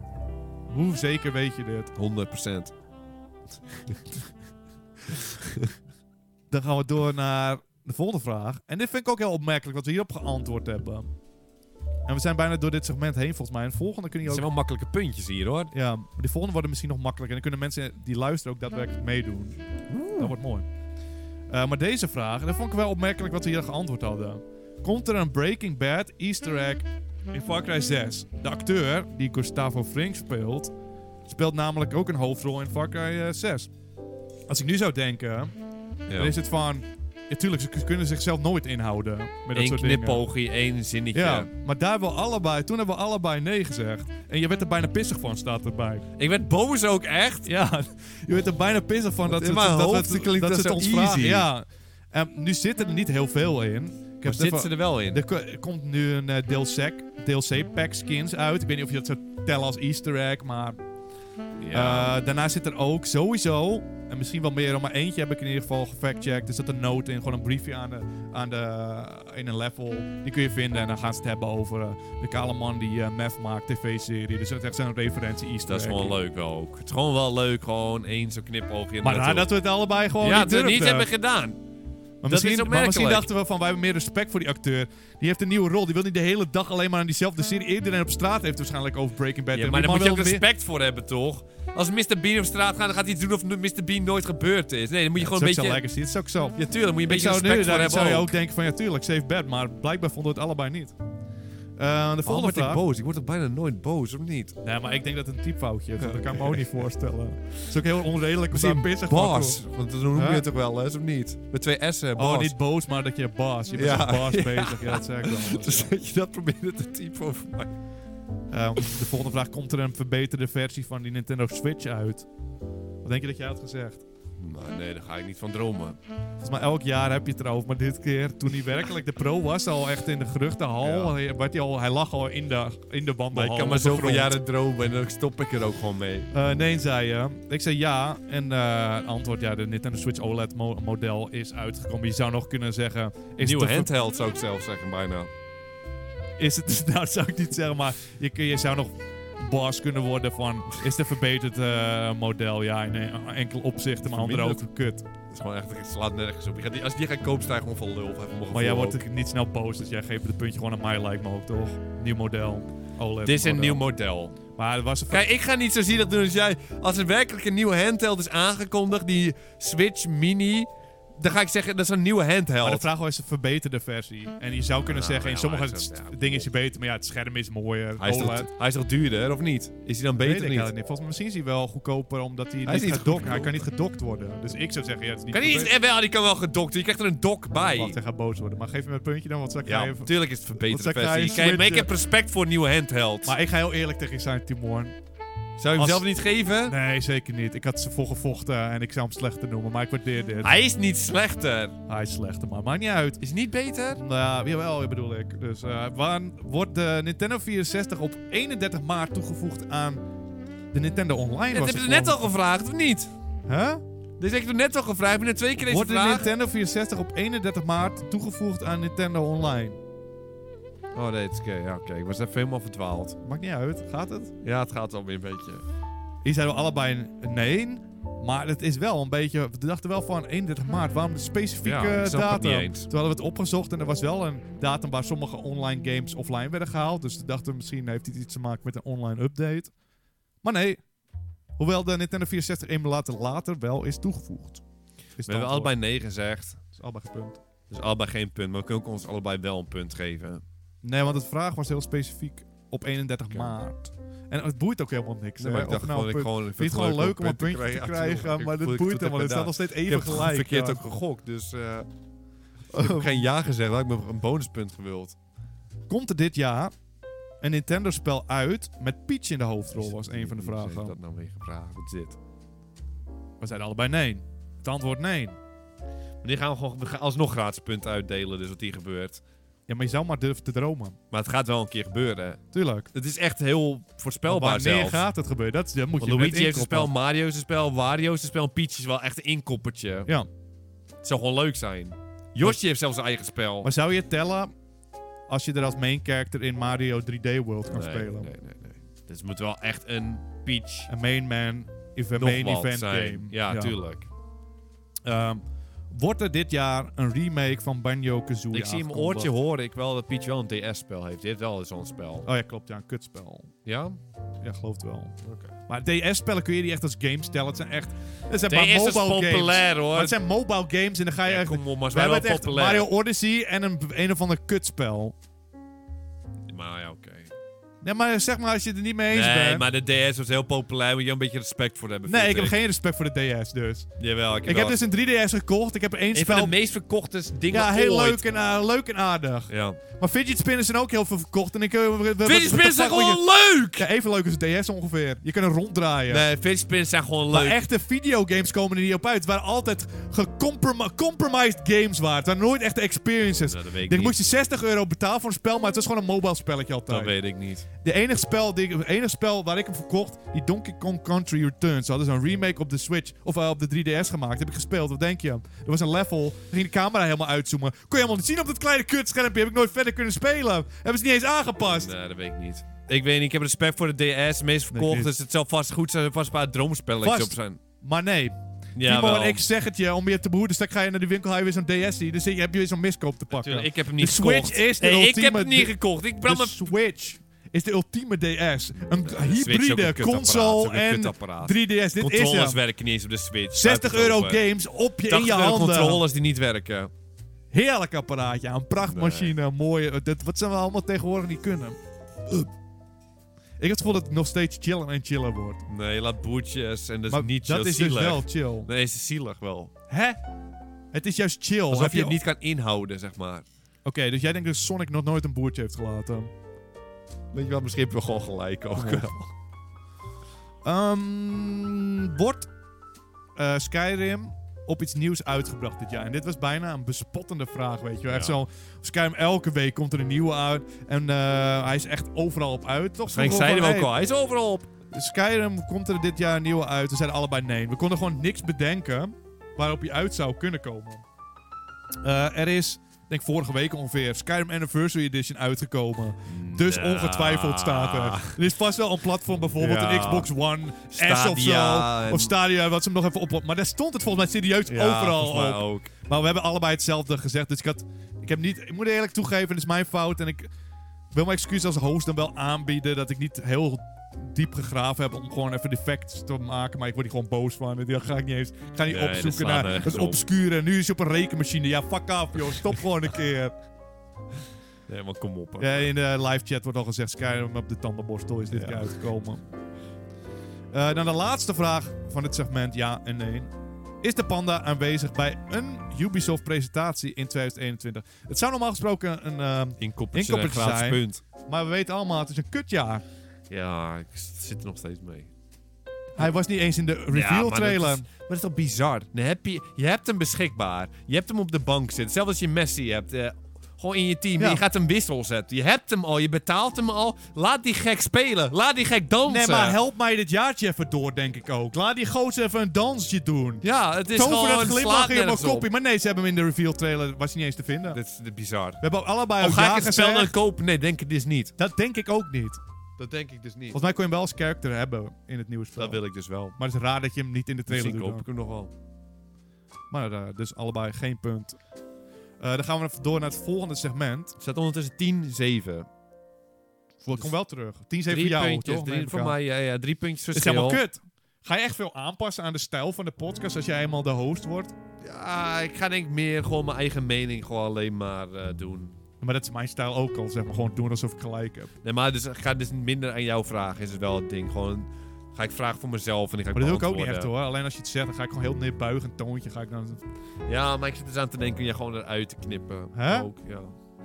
A: Hoe zeker weet je dit?
B: 100%.
A: Dan gaan we door naar de volgende vraag. En dit vind ik ook heel opmerkelijk, wat we hierop geantwoord hebben. En we zijn bijna door dit segment heen, volgens mij. En de volgende kun je
B: Het
A: ook...
B: zijn wel makkelijke puntjes hier hoor.
A: Ja, maar de volgende worden misschien nog makkelijker. En dan kunnen mensen die luisteren ook daadwerkelijk meedoen. Dat wordt mooi. Eh, maar deze vraag, en dat vond ik wel opmerkelijk wat we hier geantwoord hadden. Komt er een Breaking Bad easter egg in Far Cry 6? De acteur, die Gustavo Fring speelt, speelt namelijk ook een hoofdrol in Far Cry eh, 6. Als ik nu zou denken,
B: Ja.
A: dan is het van... Ja, tuurlijk, ze k- kunnen zichzelf nooit inhouden met dat
B: Eén
A: soort dingen.
B: knipoogje, één zinnetje.
A: Ja, maar daar hebben we allebei, toen hebben we allebei nee gezegd. En je werd er bijna pissig van, staat erbij.
B: Ik werd boos ook echt.
A: Ja, je werd er bijna pissig van dat
B: in
A: ze,
B: mijn
A: dat,
B: hoofd
A: we-
B: klinkt
A: dat
B: dat
A: ze het
B: zo
A: ons
B: easy.
A: vragen. Ja. En nu zitten er niet heel veel in. Ik
B: Maar
A: heb
B: zitten
A: even-
B: ze er wel in?
A: er ko- er komt nu een eh, DLC, DLC pack skins uit. Ik weet niet of je dat zou tellen als easter egg, maar...
B: Ja.
A: eh, daarna zit er ook sowieso, en misschien wel meer, maar eentje heb ik in ieder geval gefactcheckt. Er zit een note in, gewoon een briefje aan de, aan de, in een level. Die kun je vinden en dan gaan ze het hebben over eh, de kale man die eh meth maakt, tv-serie. Dus dat is echt zo'n referentie easter
B: dat is
A: egg.
B: gewoon leuk wel ook. Het is gewoon wel leuk, gewoon één zo'n knipoogje. en
A: Maar
B: dat
A: raar
B: ook.
A: dat we het allebei gewoon
B: ja,
A: niet
B: dat niet
A: durfden.
B: hebben gedaan.
A: Maar
B: Dat is
A: misschien, maar misschien dachten
B: opmerkelijk.
A: we van, wij hebben meer respect voor die acteur. Die heeft een nieuwe rol. Die wil niet de hele dag alleen maar aan diezelfde
B: Ah.
A: serie. Iedereen op straat heeft waarschijnlijk over Breaking Bad.
B: Ja,
A: En
B: maar
A: die
B: daar moet
A: man
B: je ook
A: wil weer-
B: respect voor hebben, toch? Als Mr. Bean op straat gaat, dan gaat hij iets doen of Mr. Bean nooit gebeurd is. Nee, dan moet je
A: Dat
B: gewoon een
A: is ook zo
B: beetje...
A: lekker. Dat is ook zo.
B: Ja, tuurlijk, moet je een
A: Ik
B: beetje
A: zou
B: respect
A: nu
B: voor
A: daar
B: hebben Oh,
A: zou je ook
B: ook.
A: denken van, ja tuurlijk, safe bed. Maar blijkbaar vonden we het allebei niet. Eh, de
B: Waarom
A: volgende vraag.
B: boos? Ik word toch bijna nooit boos, of niet?
A: Nee, maar ik denk dat het een typfoutje is. Dat kan ik me [laughs] ook niet voorstellen. Het is ook heel onredelijk. We
B: Misschien
A: zijn pissig van
B: Bas. Want dan noem je
A: Ja.
B: het ook wel eens, of niet? Met twee S'en, Bas.
A: Oh, niet boos, maar dat je baas. Je bent
B: Ja.
A: met baas
B: [laughs] Ja.
A: bezig. Ja, dat zeg ik wel.
B: [laughs] Dus dat je dat probeerde te typen over mij.
A: Ehm, de volgende vraag: komt er een verbeterde versie van die Nintendo Switch uit? Wat denk je dat jij had gezegd?
B: Maar Nou, nee, daar ga ik niet van dromen.
A: Volgens mij elk jaar heb je het erover, maar dit keer, toen hij werkelijk de pro was, al echt in de geruchtenhal,
B: Ja.
A: hij, werd hij, al, hij lag al in de, in de
B: Maar
A: wandelhal.
B: ik kan
A: op
B: maar
A: de
B: zoveel
A: grond.
B: jaren dromen en dan stop ik er ook gewoon mee.
A: Eh, nee, zei je. Ik zei ja. En eh antwoord, ja, de Nintendo Switch OLED mo- model is uitgekomen. Je zou nog kunnen zeggen... Is
B: Nieuwe
A: het een ver-
B: handheld zou ik zelf zeggen bijna.
A: Is het, [laughs] nou, dat zou ik niet zeggen, maar je, kun- je zou nog baas kunnen worden van... Is het een verbeterd eh, model? Ja, in en- enkel opzichten, maar andere ook
B: Verminderd.
A: kut.
B: Het is gewoon echt, het slaat nergens op. Je gaat die, als je die gaat kopen, sta je gewoon van lul. Even mogen
A: Maar jij
B: voor
A: wordt
B: ook.
A: er niet snel boos, dus jij geeft het puntje gewoon aan mij, lijkt me ook, toch? Nieuw model. OLED
B: Dit is een
A: model.
B: nieuw model.
A: Maar er was een...
B: Kijk, ik ga niet zo zielig doen als jij. Als er werkelijk een nieuwe handheld is aangekondigd, die Switch Mini, dan ga ik zeggen, dat is een nieuwe handheld.
A: Maar de vraag was een verbeterde versie. En je zou kunnen
B: Ja,
A: zeggen, in
B: ja,
A: sommige
B: Nou, hij is dat, ja.
A: dingen is hij beter, maar ja, het scherm is mooier.
B: hij, is
A: OLED.
B: toch, hij is toch duurder, of niet? Is hij dan
A: Weet
B: beter
A: ik
B: niet?
A: eigenlijk niet. Volgens mij misschien is hij wel goedkoper omdat hij,
B: Hij is
A: niet
B: niet
A: gedokt.
B: goedkoper.
A: Hij kan niet gedokt worden. Dus ik zou zeggen, ja, het is niet
B: Kan die,
A: verbeterd.
B: eh, wel, die kan wel gedokt. Je krijgt er een dok bij.
A: Wacht, hij gaat boos worden. Maar geef hem een puntje dan, want zal ik
B: Ja,
A: even...
B: natuurlijk is het verbeterde
A: Want dan krijg je
B: versie. Kijk, maar ik
A: Switch,
B: heb respect voor een nieuwe handheld.
A: Maar ik ga heel eerlijk tegen je zijn, Timon.
B: Zou je
A: als-
B: hem zelf niet geven?
A: Nee, zeker niet. Ik had ze voor gevochten en ik zou hem slechter noemen. Maar ik waardeer dit.
B: Hij is niet slechter.
A: Hij is slechter, maar maakt niet uit.
B: Is niet beter?
A: Nou, jawel, bedoel ik. Dus eh waan- wordt de Nintendo 64 op 31 maart toegevoegd aan de Nintendo Online?
B: Dat
A: was
B: heb je
A: het
B: net al
A: gewoon.
B: gevraagd, of niet?
A: Huh?
B: Dus ik heb het net al gevraagd. Ik ben er twee keer deze
A: Wordt de
B: vraag.
A: Nintendo 64 op 31 maart toegevoegd aan Nintendo Online?
B: Oh nee, het is oké. Ja, oké. Ik was even helemaal verdwaald.
A: Maakt niet uit. Gaat het?
B: Ja, het gaat wel weer een beetje.
A: Hier zeiden we allebei een nee. Maar het is wel een beetje... We dachten wel van 31 maart. Waarom de specifieke
B: Ja, ik snap het
A: datum?
B: niet eens.
A: Toen hadden we het opgezocht en er was wel een datum waar sommige online games offline werden gehaald. Dus toen dachten we misschien heeft dit iets te maken met een online update. Maar nee. Hoewel de Nintendo 64 emulator later wel is toegevoegd. Is
B: We hebben
A: allebei...
B: allebei nee gezegd.
A: Is allebei gepunt.
B: Dus allebei geen punt. Maar we kunnen ook ons allebei wel een punt geven.
A: Nee, want de vraag was heel specifiek. op 31
B: Oké.
A: maart. En het boeit ook helemaal niks. hè,
B: Nee, maar ik
A: of
B: dacht
A: nou
B: gewoon, ik
A: een punt-
B: gewoon... ik
A: Ik vind het gewoon leuk om een puntje te
B: Ja,
A: krijgen,
B: tuurlijk.
A: maar
B: Ik
A: dat
B: voel-
A: boeit
B: ik doe
A: helemaal. Het
B: het
A: staat
B: inderdaad.
A: nog steeds
B: Ik
A: even
B: heb gewoon
A: gelijk.
B: verkeerd
A: ja. Oh.
B: ook gegokt, dus... eh, ik heb geen ja gezegd, had ik me een bonuspunt gewild.
A: Komt er dit jaar een Nintendo-spel uit met Peach in de hoofdrol? Was een van de
B: Wie heeft
A: vragen.
B: dat nou weer gevraagd? Wat is dit?
A: We zeiden allebei nee. Het antwoord nee.
B: Maar die gaan we gewoon we gaan alsnog gratis punten uitdelen, dus wat hier gebeurt.
A: Ja, maar je zou maar durven te dromen.
B: Maar het gaat wel een keer gebeuren.
A: Tuurlijk.
B: Het is echt heel voorspelbaar
A: Wanneer
B: zelfs.
A: gaat het gebeuren? Dat, is- dat moet
B: Want
A: je
B: Luigi heeft een
A: inkopen.
B: spel, Mario is een spel, Wario is een spel, en Peach is wel echt een inkoppertje.
A: Ja.
B: Het zou gewoon leuk zijn. Yoshi heeft zelfs zijn eigen spel.
A: Maar zou je tellen als je er als main character in Mario 3D World kan
B: nee,
A: spelen?
B: Nee, nee, nee. Dus het moet wel echt een Peach
A: Een main man, if a
B: nog
A: main
B: wat
A: event
B: zijn.
A: game.
B: Ja, tuurlijk.
A: Ehm, wordt er dit jaar een remake van Banjo Kazooie?
B: ik zie in mijn oortje horen ik wel dat Peach wel een DS-spel heeft. Dit wel zo'n spel.
A: Oh ja, klopt. Ja, een kutspel.
B: Ja?
A: Ja, geloof het wel.
B: Oké.
A: Maar DS-spellen kun je die echt als games stellen. Het zijn echt... Het zijn maar
B: DS is
A: mobile games.
B: populair hoor.
A: Maar het zijn mobile games en dan ga je
B: Ja,
A: echt...
B: kom op, maar
A: We
B: ze zijn
A: hebben
B: wel
A: het echt
B: populair.
A: Mario Odyssey en een, een of ander kutspel.
B: Maar ja, oké.
A: Nee, maar zeg maar als je het er niet mee eens
B: Nee,
A: bent.
B: maar de DS was heel populair. Moet je een beetje respect voor hebben.
A: nee, ik
B: vind
A: heb geen respect voor de DS dus.
B: Jawel, ik heb,
A: Ik
B: wel-
A: heb dus een 3DS gekocht. Ik heb er één
B: Een
A: spel...
B: van de meest verkochte dingen
A: ja, heel
B: ooit.
A: leuk en, eh, leuk en aardig.
B: Ja.
A: Maar fidget spinners zijn ook heel veel verkocht. En ik... eh, wat- wat-
B: Fidget
A: wat-
B: spinners
A: wat-
B: zijn
A: wat-
B: gewoon leuk!
A: Ja, even leuk als de DS ongeveer. Je kunt er ronddraaien.
B: Nee, fidget spinners zijn gewoon
A: Maar
B: leuk.
A: echte videogames komen er niet op uit. Het waren altijd gecompromised games waren. Het waren nooit echte experiences.
B: Nou, dat weet ik
A: Dan
B: niet.
A: moest je 60 euro betalen voor een spel, maar het was gewoon een mobile spelletje
B: Dat
A: altijd.
B: weet ik niet.
A: De enige spel, die, het enige spel waar ik hem verkocht, die Donkey Kong Country Returns. Ze hadden zo'n remake op de Switch, of eh, op de 3DS gemaakt. Heb ik gespeeld, wat denk je? Er was een level, daar ging de camera helemaal uitzoomen. Kon je helemaal niet zien op dat kleine kutschermpje. Heb ik nooit verder kunnen spelen. Hebben ze niet eens aangepast.
B: Nee, dat weet ik niet. Ik weet niet, ik heb respect voor de DS, de meest verkocht.
A: niet.
B: dus het zal vast goed zijn, er vast een paar droomspelletjes
A: Vast.
B: op zijn.
A: Maar nee,
B: Ja,
A: Timo
B: wel.
A: en ik zeg het je, om je te behoeden. Dus dan ga je naar de winkel, ga je weer zo'n DS zien. Dus je- heb je weer zo'n miskoop te pakken.
B: Tuurlijk, ik heb hem niet
A: De Switch
B: gekocht.
A: is de
B: Nee, ik heb
A: ultieme
B: hem niet
A: di-
B: gekocht. Ik brand
A: de
B: mijn
A: Switch is de ultieme DS. Een
B: de Switch is ook
A: hybride
B: een kutapparaat,
A: console
B: ook een
A: en
B: kutapparaat.
A: 3DS. Dit is
B: controllers
A: hem.
B: werken niet eens op de Switch.
A: 60
B: Laat het
A: euro
B: open.
A: games op je, in
B: 80
A: je
B: euro
A: handen.
B: controllers die niet werken.
A: Heerlijk apparaatje. Een prachtmachine. Mooie. eh, Dat, wat zijn we allemaal tegenwoordig niet kunnen. Ugh. Ik heb het gevoel dat het nog steeds chiller en chiller wordt.
B: Nee, laat boertjes en dat is
A: maar
B: niet
A: dat
B: zo
A: is
B: zielig.
A: dus wel chill.
B: Nee, is zielig wel.
A: Hè? Het is juist chill.
B: Alsof
A: Heb
B: je het niet kan inhouden, zeg maar.
A: Oké, dus jij denkt dat Sonic nog nooit een boertje heeft gelaten.
B: Weet je wat, misschien heb je gewoon gelijk ook
A: [laughs] Ja.
B: wel.
A: Ehm, wordt eh, Skyrim op iets nieuws uitgebracht dit jaar? En dit was bijna een bespottende vraag, weet je wel. Echt
B: Ja.
A: zo'n Skyrim elke week komt er een nieuwe uit. En eh, hij is echt overal op uit, toch?
B: Waarschijnlijk
A: Vroeger
B: zeiden we ook
A: van,
B: al, hij is overal op.
A: hey, Skyrim komt er dit jaar een nieuwe uit. We zeiden allebei nee. We konden gewoon niks bedenken waarop hij uit zou kunnen komen. Eh, er is, denk ik vorige week ongeveer, Skyrim Anniversary Edition uitgekomen. Dus
B: Nou.
A: ongetwijfeld staat er. Er is vast wel een platform, bijvoorbeeld
B: Ja.
A: een Xbox One S of
B: Stadia
A: zo.
B: en-
A: Of Stadia, wat ze hem nog even op. Maar daar stond het volgens mij serieus
B: Ja,
A: overal
B: volgens mij
A: op.
B: ook.
A: Maar we hebben allebei hetzelfde gezegd. Dus ik had. Ik heb niet. Ik moet eerlijk toegeven, het is mijn fout. En ik wil mijn excuus als host dan wel aanbieden dat ik niet heel diep gegraven heb om gewoon even de facts te maken. Maar ik word hier gewoon boos van. Daar ga ik niet eens. Ik ga niet
B: Nee, dat
A: opzoeken
B: slaat
A: naar.
B: nergens
A: Dat is
B: op.
A: obscuur. En nu is je op een rekenmachine. Ja, fuck af, joh. Stop gewoon een keer.
B: Nee, maar kom op.
A: Ja, in de live chat wordt al gezegd: Skyrim op de tandenborstel is dit
B: Ja.
A: keer uitgekomen. Eh, dan de laatste vraag van het segment: ja en nee. Is de panda aanwezig bij een Ubisoft-presentatie in 2021? Het zou normaal gesproken een. ehm,
B: Inkoppertje en
A: Inkoppertje
B: gratis
A: zijn.
B: punt.
A: maar we weten allemaal, het is een kutjaar.
B: Ja, ik s- zit er nog steeds mee.
A: Hij was niet eens in de reveal-trailer.
B: Maar dat is toch bizar? Dan heb je, je hebt hem beschikbaar. Je hebt hem op de bank zitten. Zelfs als je Messi hebt. eh, gewoon in je team.
A: Ja.
B: Je gaat hem wissel zetten. Je hebt hem al. Je betaalt hem al. Laat die gek spelen. Laat die gek dansen.
A: nee, maar help mij dit jaartje even door, denk ik ook. Laat die gozer even een dansje doen.
B: Ja, het is
A: Tover
B: gewoon...
A: dat
B: slaat
A: glimlachje in mijn
B: nergens op.
A: kopje. Maar nee, ze hebben hem in de reveal-trailer. Was hij niet eens te vinden. We
B: Dit is eh, bizar.
A: hebben allebei
B: Of
A: ook
B: ga
A: ja
B: ik het spel
A: gezegd.
B: dan kopen? Nee, denk ik dus niet.
A: Dat denk ik ook niet.
B: Dat denk ik dus niet.
A: Volgens mij kon je hem wel als character hebben in het nieuwe spel.
B: Dat wil ik dus wel.
A: Maar het is raar dat je hem niet in de trailer
B: Misschien
A: doet.
B: koop
A: dan.
B: ik hem nog wel.
A: Maar eh, dus allebei geen punt. Eh, dan gaan we even door naar het volgende segment.
B: Het staat ondertussen 10-7.
A: Ik kom wel terug. 10 7
B: Dus Drie
A: voor jou,
B: puntjes,
A: toch? Neem
B: drie
A: ik
B: voor
A: aan.
B: mij, ja, ja, drie puntjes
A: Het is
B: verschil.
A: helemaal kut. Ga je echt veel aanpassen aan de stijl van de podcast als jij eenmaal de host wordt?
B: Ja, ik ga denk ik meer gewoon mijn eigen mening gewoon alleen maar eh, doen.
A: Dan Maar dat is mijn stijl ook al, zeg maar. Gewoon doen alsof ik gelijk heb.
B: Nee, maar dus, ik ga dus minder aan jou vragen, is het wel het ding. Gewoon, ga ik vragen voor mezelf en ik ga
A: Maar dat doe ik ook niet
B: beantwoorden.
A: echt hoor. Alleen als je het zegt, dan ga ik gewoon heel neerbuigend toontje. Ga ik dan...
B: Ja, maar ik zit dus aan te denken je gewoon eruit te knippen.
A: Hè?
B: Ook, ja.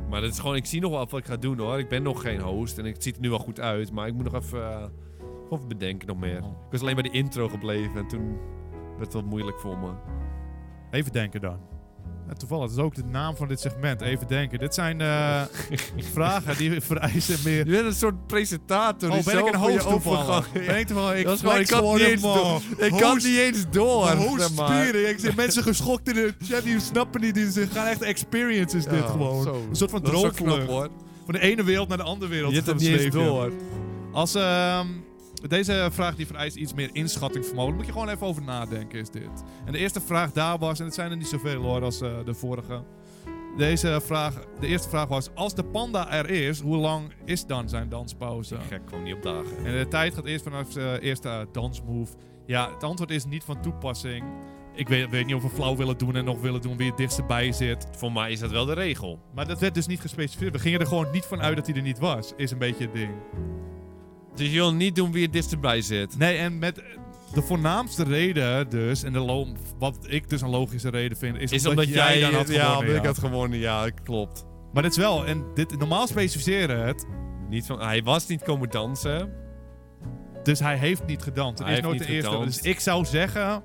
B: Maar dat is gewoon, ik zie nog wel wat ik ga doen hoor. Ik ben nog geen host en het ziet er nu wel goed uit. Maar ik moet nog even, eh, gewoon even bedenken nog meer. Ik was alleen bij de intro gebleven en toen werd het wat moeilijk voor me.
A: Even denken dan. Ja, toevallig, dat is ook de naam van dit segment. Even denken. Dit zijn
B: [laughs]
A: eh, vragen die vereisen meer...
B: Je bent een soort presentator.
A: Oh,
B: die
A: ben
B: zo
A: ik een
B: voor je
A: host toevallig?
B: overgang-
A: Ben ik toevallig? Ik,
B: Dat is gewoon, ik
A: ik
B: kan het niet eens
A: man.
B: door. Ik kan
A: Host-
B: niet eens door. zeg maar.
A: Hostspieren. Ik zie mensen geschokt in de chat. Die snappen niet. Die gaan echt experience is dit
B: Ja,
A: gewoon.
B: zo.
A: Een soort van
B: Dat is ook knap
A: droomvlucht.
B: hoor.
A: Van de ene wereld naar de andere wereld.
B: Je hebt het niet
A: gezweefd,
B: eens
A: ja.
B: door.
A: Als, ehm, deze vraag die vereist iets meer inschattingsvermogen. Daar moet je gewoon even over nadenken, is dit. En de eerste vraag daar was, en het zijn er niet zoveel hoor als eh, de vorige. Deze vraag, de eerste vraag was, als de panda er is, hoe lang is dan zijn danspauze?
B: Ik kwam niet op dagen.
A: En de tijd gaat eerst vanaf de eerste dansmove. Ja, het antwoord is niet van toepassing. Ik weet, weet niet of we flauw willen doen en nog willen doen wie het dichtst bij zit.
B: Voor mij is dat wel de regel.
A: Maar dat werd dus niet gespecificeerd. We gingen er gewoon niet van uit dat hij er niet was, is een beetje het ding.
B: Dus je wil niet doen wie het dichtst erbij zit.
A: Nee, en met eh, de voornaamste reden dus, en de lo- wat ik dus een logische reden vind, is,
B: Is
A: omdat, jij, dan had
B: ja,
A: gewonnen.
B: omdat ik
A: ja.
B: had gewonnen. Ja, klopt.
A: Maar dit is wel, en dit, normaal specificeren het,
B: Niet van, hij was niet komen dansen.
A: dus hij heeft niet gedanst. Het
B: Hij
A: is
B: heeft
A: nooit de
B: niet
A: eerste.
B: gedanst.
A: Dus ik zou zeggen,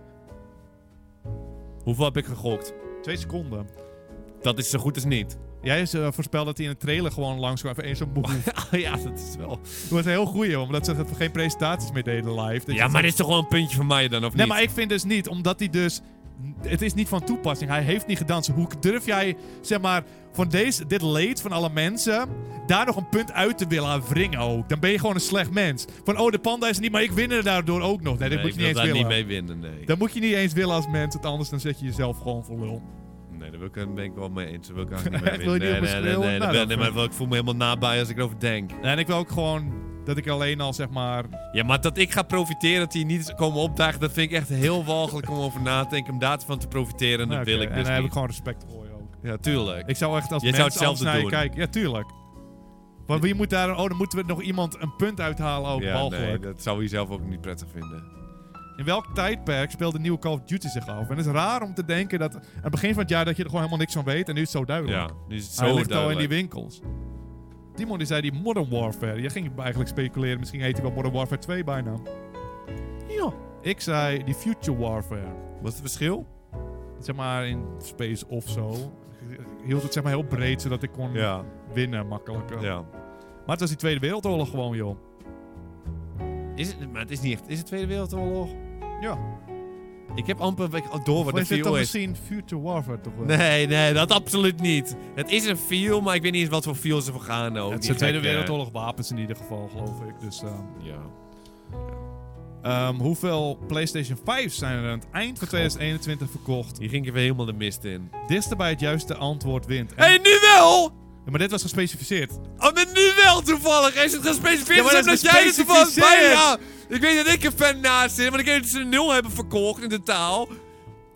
B: Hoeveel heb ik gegokt?
A: twee seconden.
B: Dat is zo goed als [laughs] niet.
A: Jij is, eh, voorspelde dat hij in de trailer gewoon langs kwam, even één zo'n move.
B: Oh, ja, dat is wel.
A: Dat was een heel goeie, hoor, omdat ze dat we geen presentaties meer deden live. Dat
B: Ja,
A: je-
B: maar dit is toch wel een puntje van mij dan, of
A: Nee,
B: niet?
A: maar ik vind dus niet, omdat hij dus... Het is niet van toepassing. Hij heeft niet gedanst. Hoe durf jij, zeg maar, van deze, dit leed van alle mensen... daar nog een punt uit te willen aan wringen ook? Dan ben je gewoon een slecht mens. Van, oh, de panda is er niet, maar ik win er daardoor ook nog. Nee, dat moet
B: Nee,
A: je
B: ik
A: niet
B: wil
A: eens
B: daar
A: willen.
B: niet mee winnen, nee.
A: Dat moet je niet eens willen als mens, want anders dan zet je jezelf gewoon voor lul.
B: Nee, daar wil ik- daar ben ik wel mee eens. Daar [laughs] wil ik eigenlijk niet mee
A: Wil je
B: winnen.
A: niet op me
B: nee, nee, nee,
A: schreeuwen?
B: nee,
A: Nou,
B: dat-
A: dat-
B: nee, maar wel, ik voel me helemaal nabij als ik erover denk.
A: En ik wil ook gewoon dat ik alleen al, zeg maar...
B: Ja, maar dat ik ga profiteren dat hij niet is komen opdagen, dat vind ik echt heel walgelijk om over na te denken. Om daarvan te profiteren, en dat
A: Nou,
B: wil
A: oké,
B: ik
A: En
B: dus
A: dan heb ik
B: niet.
A: gewoon respect voor je ook.
B: Ja, tuurlijk.
A: Ik zou echt als
B: Jij
A: mens
B: zou hetzelfde
A: anders naar je
B: doen.
A: kijken. Ja, tuurlijk. Want wie moet daar... Oh, dan moeten we nog iemand een punt uithalen ook,
B: ja,
A: walgelijk.
B: nee, dat zou je zelf ook niet prettig vinden.
A: In welk tijdperk speelde nieuwe Call of Duty zich af? En het is raar om te denken dat aan het begin van het jaar dat je er gewoon helemaal niks van weet. En nu is het zo duidelijk.
B: Ja, dus het is zo
A: Hij ligt al in
B: duidelijk.
A: die winkels. Timon die zei die Modern Warfare. Jij ging eigenlijk speculeren. Misschien heet hij wel Modern Warfare 2 bijna. Ja. Ik zei die Future Warfare.
B: Wat is het verschil?
A: Zeg maar in space of zo. Ik hield het zeg maar heel breed zodat ik kon
B: Ja,
A: winnen eh, makkelijker.
B: ja.
A: Maar het was die Tweede Wereldoorlog gewoon joh.
B: Is het, maar het is niet echt. Is het Tweede Wereldoorlog?
A: Ja.
B: Ik heb amper ik, al door wat
A: Maar
B: een
A: is dit
B: viel
A: toch
B: is.
A: misschien Future Warfare toch wel?
B: Nee, nee, dat absoluut niet. Het is een viel, maar ik weet niet eens wat voor viel ze voor gaan. Ook.
A: het
B: Oh, Die
A: zijn Tweede
B: gekke-
A: Wereldoorlog wapens in ieder geval geloof ik. Dus ehm,
B: Ja.
A: Ehm, hoeveel PlayStation 5 zijn er aan het eind van 2021 verkocht?
B: Hier ging ik even helemaal de mist in.
A: Dichter bij het juiste antwoord wint. En-
B: Hé, hey, nu wel!
A: Ja, maar dit was gespecificeerd.
B: Oh, maar nu wel toevallig. Hij is het gespecificeerd
A: Ja, maar dat
B: omdat
A: is
B: jij er toevallig bij
A: gespecificeerd.
B: ja. Ik weet dat ik er fan naast zit, maar ik weet dat ze een nul hebben verkocht in totaal.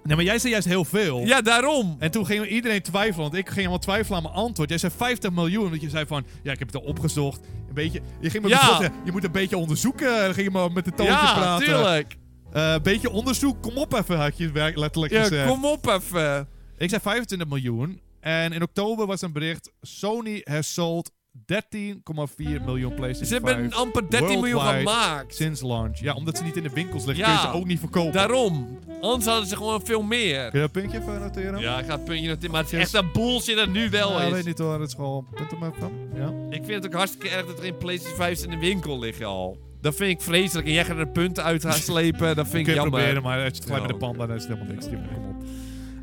A: Nee, maar jij zei juist heel veel.
B: Ja, daarom.
A: En toen ging iedereen twijfelen, want ik ging helemaal twijfelen aan mijn antwoord. Jij zei 50 miljoen, omdat je zei van, ja, ik heb het al opgezocht. Een beetje, je ging me
B: Ja.
A: besloten, je moet een beetje onderzoeken. Dan ging je maar met de toontje
B: ja,
A: praten.
B: tuurlijk.
A: Eh, Een beetje onderzoek, kom op even, had je werk- letterlijk
B: Ja,
A: gezegd.
B: kom op even.
A: Ik zei 25 miljoen. En in oktober was een bericht, Sony has sold 13,4 miljoen PlayStation 5.
B: Ze hebben amper 13 miljoen
A: Worldwide.
B: gemaakt.
A: Sinds launch. Ja, omdat ze niet in de winkels liggen,
B: Ja.
A: kun je ze ook niet verkopen.
B: Daarom. Anders hadden ze gewoon veel meer.
A: Kun je dat puntje even noteren?
B: Ja, ik ga het puntje noteren, maar het is echt dat bullshit dat nu wel
A: Ja,
B: is.
A: weet niet hoor, dat is gewoon punt om even. Ja.
B: Ik vind het ook hartstikke erg dat er in PlayStation 5 in de winkel liggen al. Dat vind ik vreselijk. En jij gaat er punten uit
A: [laughs]
B: gaan slepen. Dat vind
A: Kun
B: ik
A: je
B: jammer.
A: proberen, maar als je het vergelijkt
B: Ja.
A: met de panda, dan is het helemaal niks. Jongen, Kom op.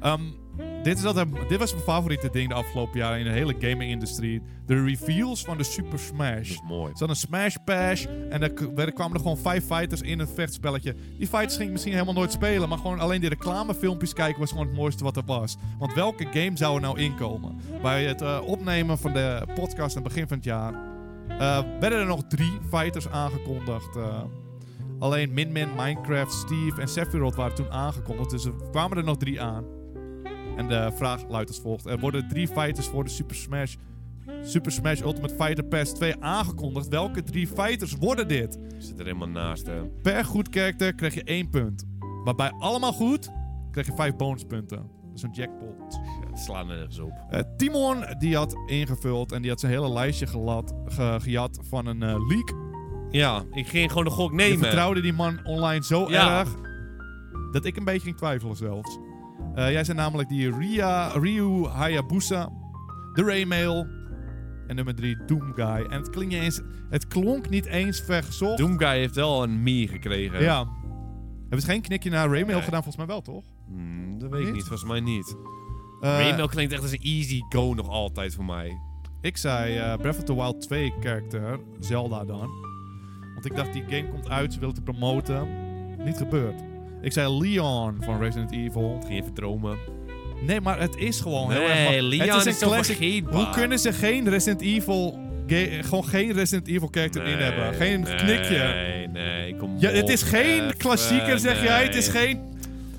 A: Ehm, dit, is altijd, dit was mijn favoriete ding de afgelopen jaren in de hele gaming-industrie. De reveals van de Super
B: Dat
A: Smash.
B: is mooi.
A: Ze hadden een Smash Bash en daar k- werden- kwamen er gewoon vijf fighters in een vechtspelletje. Die fights ging ik misschien helemaal nooit spelen, maar gewoon alleen die reclamefilmpjes kijken was gewoon het mooiste wat er was. Want welke game zou er nou inkomen? Bij het eh, opnemen van de podcast aan het begin van het jaar eh, werden er nog drie fighters aangekondigd. eh. alleen Min Min, Minecraft, Steve en Sephiroth waren toen aangekondigd, dus er kwamen er nog drie aan. En de vraag luidt als volgt. Er worden drie fighters voor de Super Smash Super Smash Ultimate Fighter Pass 2 aangekondigd. Welke drie fighters worden dit?
B: Zit er helemaal naast, hè.
A: Per goed character krijg je één punt. Maar bij allemaal goed krijg je vijf bonuspunten. Dat is een jackpot.
B: Ja, het slaat nergens op.
A: Eh, Timon die had ingevuld en die had zijn hele lijstje gelat, ge- gejat van een eh, leak.
B: Ja, ik ging gewoon de gok
A: Ik
B: nemen.
A: vertrouwde die man online zo
B: Ja.
A: erg dat ik een beetje ging twijfelen zelfs. Eh, jij zijn namelijk die Ria, Ryu Hayabusa, de Raymail en nummer 3 Doomguy. En het, klinkt niet eens, het klonk niet eens vergezocht.
B: Doomguy heeft wel een Mii gekregen.
A: Ja. Hebben ze geen knikje naar Raymail
B: Nee.
A: gedaan? Volgens mij wel, toch?
B: Hmm, dat weet ik
A: Niet?
B: niet, volgens mij niet.
A: Eh,
B: Rainbow klinkt echt als een easy go nog altijd voor mij.
A: Ik zei eh, Breath of the Wild 2 character, Zelda dan. Want ik dacht, die game komt uit, ze willen het promoten. Niet gebeurd. Ik zei Leon van Resident Evil.
B: Ging even dromen.
A: Nee, maar het is gewoon heel erg...
B: Nee, Leon
A: het
B: is, zo vergeetbaar.
A: Hoe kunnen ze geen Resident Evil... ga- gewoon geen Resident Evil character in hebben? Geen
B: nee,
A: knikje.
B: Nee, nee, kom
A: Ja, het
B: op,
A: is geen
B: even,
A: klassieker, zeg jij. Het is
B: nee.
A: geen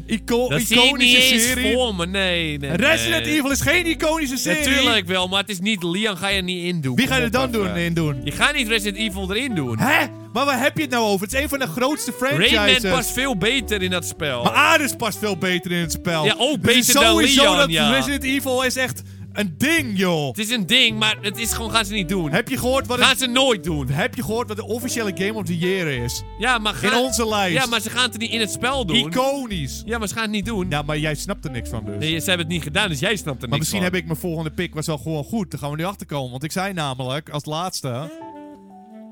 A: ico-
B: Dat zie ik niet
A: iconische
B: eens
A: serie.
B: voor me, nee. nee
A: Resident
B: nee.
A: Evil is geen iconische serie.
B: Natuurlijk wel, maar het is niet Leon, ga je niet indoen.
A: Wie ga je
B: Kom
A: er dan
B: op,
A: doen,
B: even.
A: in doen?
B: Je gaat niet Resident Evil erin doen.
A: Hè? Maar waar heb je het nou over? Het is een van de grootste franchises.
B: Rayman past veel beter in dat spel.
A: Maar Ares past veel beter in het spel. Dus
B: Ja, ook
A: Het
B: beter
A: is
B: dan
A: sowieso
B: Leon,
A: dat
B: ja.
A: Resident Evil is echt een ding, joh.
B: het is een ding, maar het is gewoon gaan ze niet doen.
A: Heb je gehoord wat
B: Gaan
A: het,
B: ze nooit doen.
A: heb je gehoord wat de officiële Game of the Year is?
B: Ja, maar
A: In
B: gaan,
A: onze lijst.
B: Ja, maar ze gaan het er niet in het spel doen.
A: Iconisch.
B: Ja, maar ze gaan het niet doen.
A: Nou, maar jij snapt er niks van dus.
B: Nee, ze hebben het niet gedaan, dus jij snapt er
A: maar
B: niks
A: misschien
B: van.
A: heb ik mijn volgende pick was wel gewoon goed. Daar gaan we nu achter komen. Want ik zei namelijk als laatste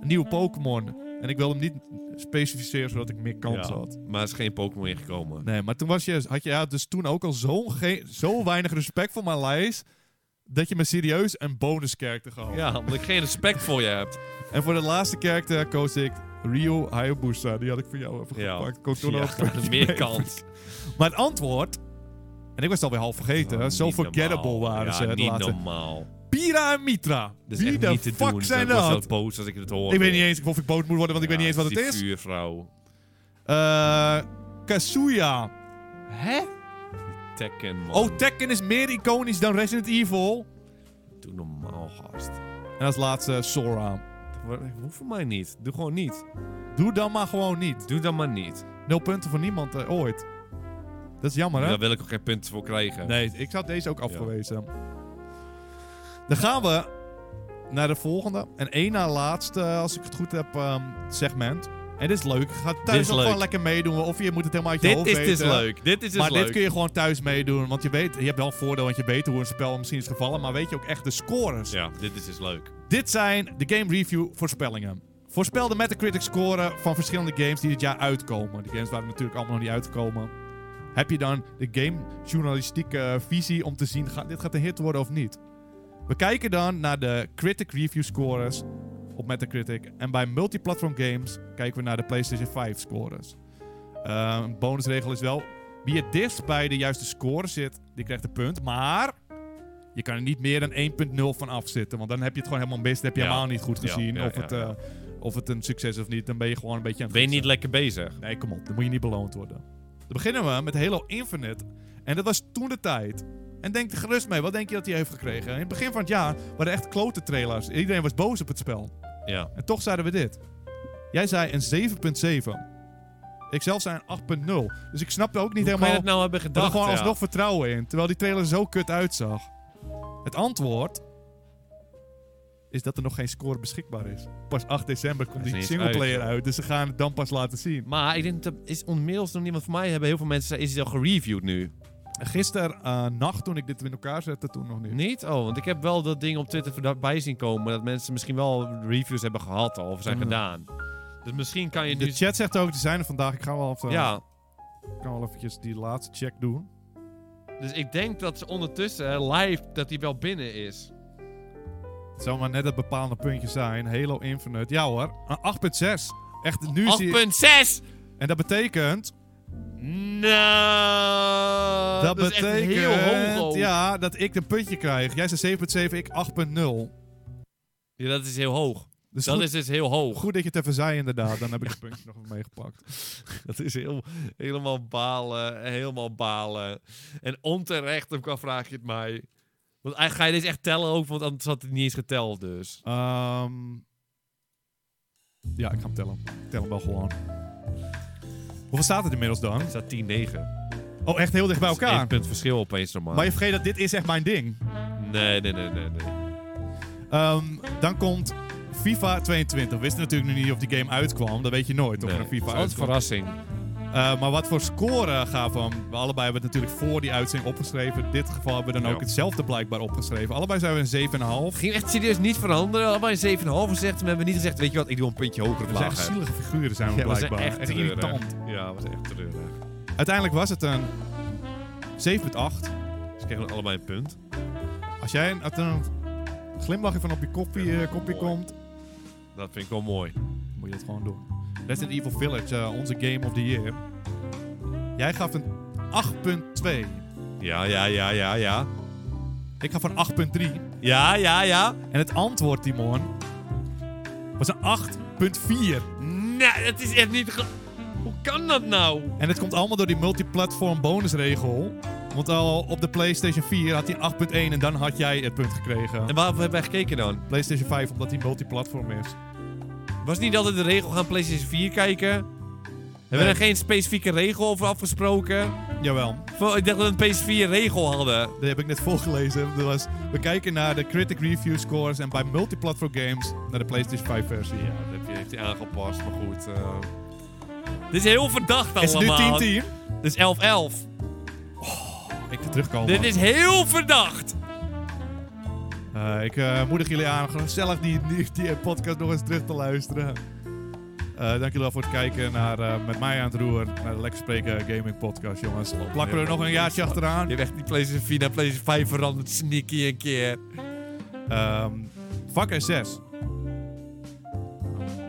A: een nieuwe Pokémon. En ik wilde hem niet specificeren zodat ik meer kans had.
B: Maar er is geen Pokémon ingekomen.
A: Nee, maar toen was je, had je ja, dus toen ook al zo, ge- zo weinig respect voor mijn lijst. Dat je me serieus een bonus character gaf.
B: Ja, omdat ik geen respect voor je heb.
A: En voor de laatste character koos ik Ryo Hayabusa. Die had ik voor jou even
B: Ja.
A: gepakt. Kon ik toen
B: Ja, [laughs]
A: ook een beetje [laughs]
B: meer
A: mee.
B: kans.
A: Maar het antwoord... En ik was het alweer half vergeten.
B: Oh,
A: zo
B: niet
A: forgettable
B: normaal.
A: waren
B: ja,
A: ze. de
B: niet
A: laatste.
B: normaal.
A: Pira en Mitra.
B: Dat is
A: Wie
B: echt
A: de
B: niet te
A: fuck
B: doen.
A: zijn
B: ik word
A: dat?
B: zo boos als ik het hoor.
A: Ik weet niet eens of ik boos moet worden, want ik
B: Ja,
A: weet niet eens wat het
B: die
A: is.
B: vuurvrouw.
A: Eh Kazuya. Hè?
B: Tekken, man.
A: Oh, Tekken is meer iconisch dan Resident Evil.
B: Doe normaal, gast.
A: En als laatste Sora.
B: Dat hoeft voor mij niet. Doe gewoon niet.
A: Doe dan maar gewoon niet.
B: Doe dan maar niet.
A: Nul punten voor niemand eh, ooit. Dat is jammer, hè?
B: Daar wil ik ook geen punten voor krijgen.
A: Nee, ik had deze ook afgewezen. Dan gaan we naar de volgende. En één na laatste, als ik het goed heb, ehm, segment. En dit is leuk. Ga
B: Dit
A: thuis
B: is
A: ook
B: leuk.
A: gewoon lekker meedoen. Of je moet het helemaal uit je
B: Dit
A: hoofd
B: is
A: weten.
B: dus leuk. Dit is dus
A: maar
B: leuk.
A: dit kun je gewoon thuis meedoen. Want je, weet, je hebt wel een voordeel, want je weet hoe een spel misschien is gevallen. Maar weet je ook echt de scores.
B: Ja, dit is dus leuk.
A: Dit zijn de Game Review voorspellingen. Voorspel de Metacritic scoren van verschillende games die dit jaar uitkomen. Die games waren natuurlijk allemaal nog niet uitgekomen. Heb je dan de gamejournalistieke eh, visie om te zien, gaat, dit gaat een hit worden of niet? We kijken dan naar de Critic Review scores op Metacritic. En bij multiplatform games kijken we naar de PlayStation 5 scores. Eh, een bonusregel is wel, wie het dichtst bij de juiste score zit, die krijgt een punt. Maar je kan er niet meer dan 1.0 van afzitten. Want dan heb je het gewoon helemaal mis. Dan heb je
B: Ja.
A: helemaal niet goed
B: Ja,
A: gezien
B: ja,
A: of,
B: ja,
A: het,
B: ja.
A: eh, of het een succes is of niet. Dan ben je gewoon een beetje aan het
B: Ben je niet
A: gidsen.
B: lekker bezig?
A: Nee, kom op. Dan moet je niet beloond worden. Dan beginnen we met Halo Infinite. En dat was toen de tijd. En denk er gerust mee. Wat denk je dat hij heeft gekregen? In het begin van het jaar waren echt klote trailers. Iedereen was boos op het spel.
B: Ja.
A: En toch zeiden we dit. Jij zei een 7.7. Ik zelf zei een 8.0. Dus ik snapte ook niet
B: Hoe kan je
A: helemaal...
B: dat nou hebben
A: We
B: gedacht?
A: hadden gewoon
B: ja?
A: alsnog vertrouwen in. Terwijl die trailer zo kut uitzag. Het antwoord is dat er nog geen score beschikbaar is. Pas 8 december komt
B: Hij is
A: die
B: niet
A: singleplayer
B: uit,
A: uit,
B: joh.
A: Dus ze gaan het dan pas laten zien.
B: Maar ik denk dat is onmiddels nog niemand van mij hebben. Heel veel mensen zeggen, is hij al gereviewd nu?
A: Gisteren eh, nacht toen ik dit in elkaar zette, toen nog niet.
B: Niet? Oh, want ik heb wel dat ding op Twitter voorbij zien komen. Dat mensen misschien wel reviews hebben gehad al of zijn
A: Ja.
B: gedaan. Dus misschien kan je
A: De
B: nu...
A: chat zegt ook, die zijn er vandaag. Ik ga wel, even,
B: Ja,
A: ik ga wel eventjes die laatste check doen.
B: dus ik denk dat ze ondertussen eh, live dat hij wel binnen is.
A: Het zou maar net dat bepaalde puntje zijn. Halo Infinite. Ja hoor, een 8.6. Echt, nu zie je...
B: 8.6!
A: En dat betekent...
B: Nou,
A: dat
B: dat, is echt
A: betekent...
B: heel hoog. ook.
A: ja, dat ik een puntje krijg. Jij zei 7.7, ik 8.0.
B: Ja, dat is heel hoog.
A: Dus
B: dat
A: goed,
B: is dus heel hoog.
A: goed dat je het even zei, inderdaad. Dan heb ik het puntje nog even meegepakt.
B: [laughs] Dat is heel, helemaal balen, helemaal balen. En onterecht, ook al vraag je het mij. Want eh, ga je deze echt tellen ook? Want anders had het niet eens geteld dus.
A: Ehm, ja, ik ga hem tellen. Ik tel hem wel gewoon. Hoeveel staat het inmiddels dan?
B: Er staat 10-9.
A: Oh, echt heel dicht bij
B: Elkaar.
A: elkaar.
B: Eén punt verschil opeens normaal.
A: Maar je vergeet dat dit is echt mijn ding.
B: Nee, nee, nee, nee. nee.
A: Ehm, dan komt FIFA 22. We wisten natuurlijk nu niet of die game uitkwam. Dat weet je nooit of
B: nee.
A: er een
B: Het is
A: FIFA
B: altijd een
A: uitkwam.
B: verrassing.
A: Eh, maar wat voor score gaven we hem? We allebei hebben het natuurlijk voor die uitzending opgeschreven. In dit geval hebben we dan
B: Ja.
A: ook hetzelfde blijkbaar opgeschreven. Allebei zijn we een 7,5.
B: Het ging echt serieus niet veranderen. Allemaal een 7,5 gezegd. We hebben niet gezegd, weet je wat, ik doe een puntje hoger of
A: We zijn echt
B: lager.
A: zielige figuren zijn we
B: Ja, we zijn
A: blijkbaar.
B: echt treurig.
A: irritant.
B: Ja, was echt treurig.
A: Uiteindelijk was het een 7,8.
B: Ze kregen allebei een punt.
A: Als jij een, als er een glimlachje van op je koffie,
B: Ja,
A: eh, kopje
B: mooi.
A: komt,
B: Dat vind ik wel mooi.
A: moet je dat gewoon doen. Resident Evil Village, eh, onze Game of the Year. Jij gaf een 8,2.
B: Ja, ja, ja, ja, ja.
A: Ik gaf een 8,3.
B: Ja, ja, ja.
A: En het antwoord, Timon, was een 8,4.
B: Nee, dat is echt niet... ge- Hoe kan dat nou?
A: En het komt allemaal door die multiplatform bonusregel. Want al op de PlayStation 4 had hij 8,1 en dan had jij het punt gekregen.
B: En waar hebben wij gekeken dan?
A: PlayStation 5, omdat hij multiplatform is.
B: Was niet altijd de regel gaan PlayStation 4 kijken? Hebben we
A: Nee.
B: er geen specifieke regel over afgesproken?
A: Jawel,
B: Van- Ik dacht dat we een PS4 regel hadden.
A: dat heb ik net volgelezen. Dat was, we kijken naar de critic review scores en bij multiplatform games naar de PlayStation 5 versie.
B: Ja, dat heb je- heeft hij aangepast, maar goed. eh. Dit is heel verdacht
A: Is het
B: allemaal.
A: nu 10-10?
B: Dit is 11-11.
A: Ik ga terugkomen.
B: Dit is heel verdacht.
A: Eh, ik eh, moedig jullie aan om gezellig die, die, die podcast nog eens terug te luisteren. Eh, dank jullie wel voor het kijken naar eh, Met mij aan het roer, naar de Lekker Spreken Gaming Podcast, jongens. Plakken we er nog een jaartje achteraan.
B: Je hebt echt die PlayStation 4 naar PlayStation 5 veranderd, sneaky een keer.
A: Ehm vak en 6.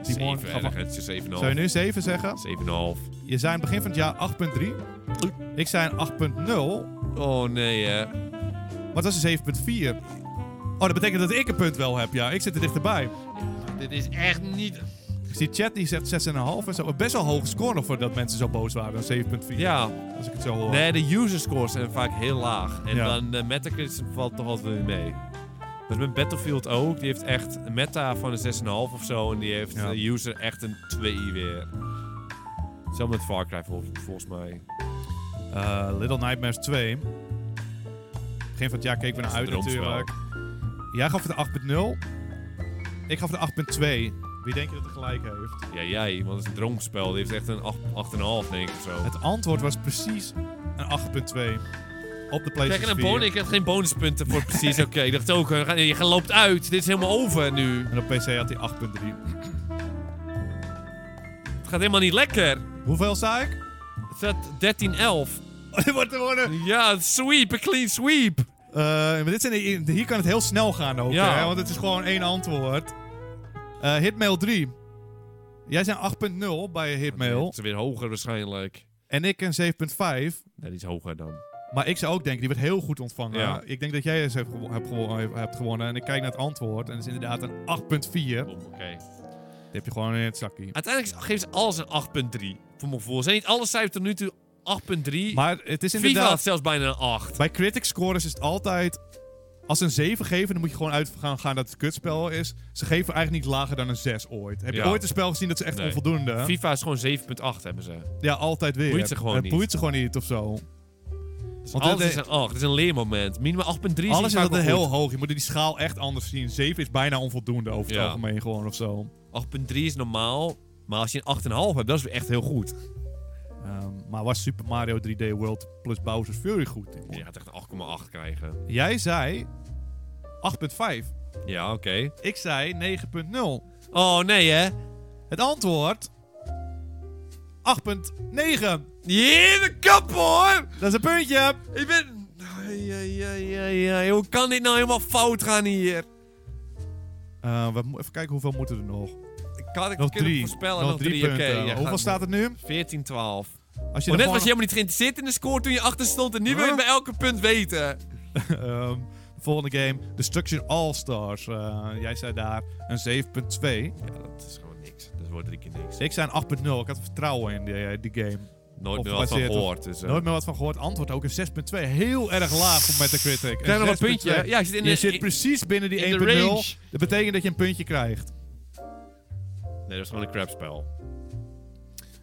A: Timon, ga maar.
B: het is 7,5.
A: Zou je nu 7 zeggen?
B: 7,5.
A: Je zei aan het begin van het jaar 8.3. Ik zei een 8.0, maar
B: Oh nee, hè.
A: het was een 7.4. Oh, dat betekent dat ik een punt wel heb, ja. Ik zit er dichterbij.
B: Dit is echt niet...
A: Ik zie chat Dus die zegt 6,5 en zo. Best wel hoge score nog voordat mensen zo boos waren. Een 7.4.
B: Ja,
A: Als ik het zo hoor.
B: nee, de user scores zijn vaak heel laag. En
A: Ja.
B: dan eh, Metacritic valt toch altijd weer mee. Dus met Battlefield ook, die heeft echt een meta van een 6,5 of zo. En die heeft
A: Ja.
B: de user echt een 2 weer. Zo met Far Cry vol- volgens mij.
A: Eh, Little Nightmares 2. Begin van het jaar keken we naar
B: Dat
A: uit
B: is een droomspel.
A: natuurlijk. Jij gaf het een 8.0. Ik gaf het een 8.2. Wie denk je dat er gelijk heeft?
B: Ja, jij, want het is een droomspel. Die heeft echt een 8 8,5 denk ik of zo.
A: Het antwoord was precies een 8.2. Op de
B: Ik krijg
A: PlayStation
B: een
A: 4.
B: bonus, ik krijg geen bonuspunten voor precies.
A: [laughs]
B: Oké, ik dacht ook, eh, ga- je gaat- loopt uit. Dit is helemaal over nu.
A: En op PC had hij 8.3.
B: Het gaat helemaal niet lekker.
A: Hoeveel zei ik? [laughs]
B: Het staat 13-11.
A: Dit wordt te worden.
B: Ja, een sweep, een clean sweep.
A: Eh, maar dit zijn, hier kan het heel snel gaan ook,
B: Ja.
A: hè, want het is gewoon één antwoord. Eh, Hitmail 3. Jij zijn 8.0 bij Hitmail.
B: Het is weer hoger waarschijnlijk.
A: En ik een 7.5.
B: Nee, die is hoger dan.
A: Maar ik zou ook denken, die werd heel goed ontvangen.
B: Ja.
A: Ik denk dat jij eens hebt, gewo- hebt, gewo- eh, hebt gewonnen. En ik kijk naar het antwoord. En het is inderdaad een 8.4. Die
B: Oké.
A: heb je gewoon in het zakje.
B: Uiteindelijk geeft ze alles een 8.3. Voor mijn gevoel. Zijn niet alle cijfers tot nu toe 8.3?
A: Maar het is
B: FIFA had
A: inderdaad...
B: zelfs bijna een 8.
A: Bij critic scores is het altijd... Als ze een 7 geven, dan moet je gewoon uit gaan, gaan dat het kutspel is. Ze geven eigenlijk niet lager dan een 6 ooit. Heb je
B: Ja.
A: ooit een spel gezien dat ze echt
B: Nee.
A: onvoldoende...
B: FIFA is gewoon 7.8 hebben ze.
A: Ja, altijd weer.
B: Boeit ze gewoon
A: het
B: niet.
A: boeit ze gewoon niet of zo.
B: Dus
A: Want
B: alles
A: dat-
B: is een 8. Het is een leermoment. Minimaal 8.3 is
A: Alles is
B: vaak
A: altijd
B: wel
A: heel
B: goed.
A: hoog. Je moet die schaal echt anders zien. 7 is bijna onvoldoende over het
B: Ja.
A: algemeen gewoon of zo.
B: 8.3 is normaal. Maar als je een 8,5 hebt, dat is weer echt heel goed.
A: Ehm, maar was Super Mario 3D World plus Bowser's Fury goed? Timon?
B: Je gaat echt een 8,8 krijgen.
A: Jij zei 8.5.
B: Ja, oké.
A: Ik zei 9.0.
B: Oh, nee hè?
A: Het antwoord 8.9.
B: Hier, de kap hoor!
A: Dat is een puntje.
B: Ik ben... Ai, ai, ai, ai, ai. Hoe kan dit nou helemaal fout gaan hier?
A: Eh, we mo- even kijken hoeveel moeten er nog.
B: Ik had ik
A: Nog
B: kunnen
A: drie.
B: voorspellen.
A: nog
B: Nog
A: drie,
B: drie, oké.
A: punten.
B: ja,
A: hoeveel
B: gaat-
A: staat het nu?
B: 14-12.
A: Als er
B: Maar net was je
A: gewoon-
B: helemaal niet geïnteresseerd in de score toen je achter stond. En nu wil je
A: Huh?
B: bij elke punt weten.
A: [laughs] Ehm, de volgende game, Destruction All Stars. Eh, jij zei daar een 7.2.
B: Ja, dat is gewoon niks. Dat wordt drie keer niks.
A: Ik zei een 8.0. Ik had er vertrouwen in die, eh, die game.
B: Nooit
A: Of
B: meer wat van
A: gebaseerd op-
B: gehoord. Dus, eh.
A: Nooit meer wat van gehoord. Antwoord ook een 6.2. Heel erg laag op Metacritic.
B: Krijg nog een
A: 6.2.
B: puntje. Ja, je zit in
A: je
B: de-
A: zit
B: in-
A: precies binnen die 1.0.
B: in de range.
A: Dat betekent dat je een puntje krijgt.
B: Nee, dat is gewoon een crapspel.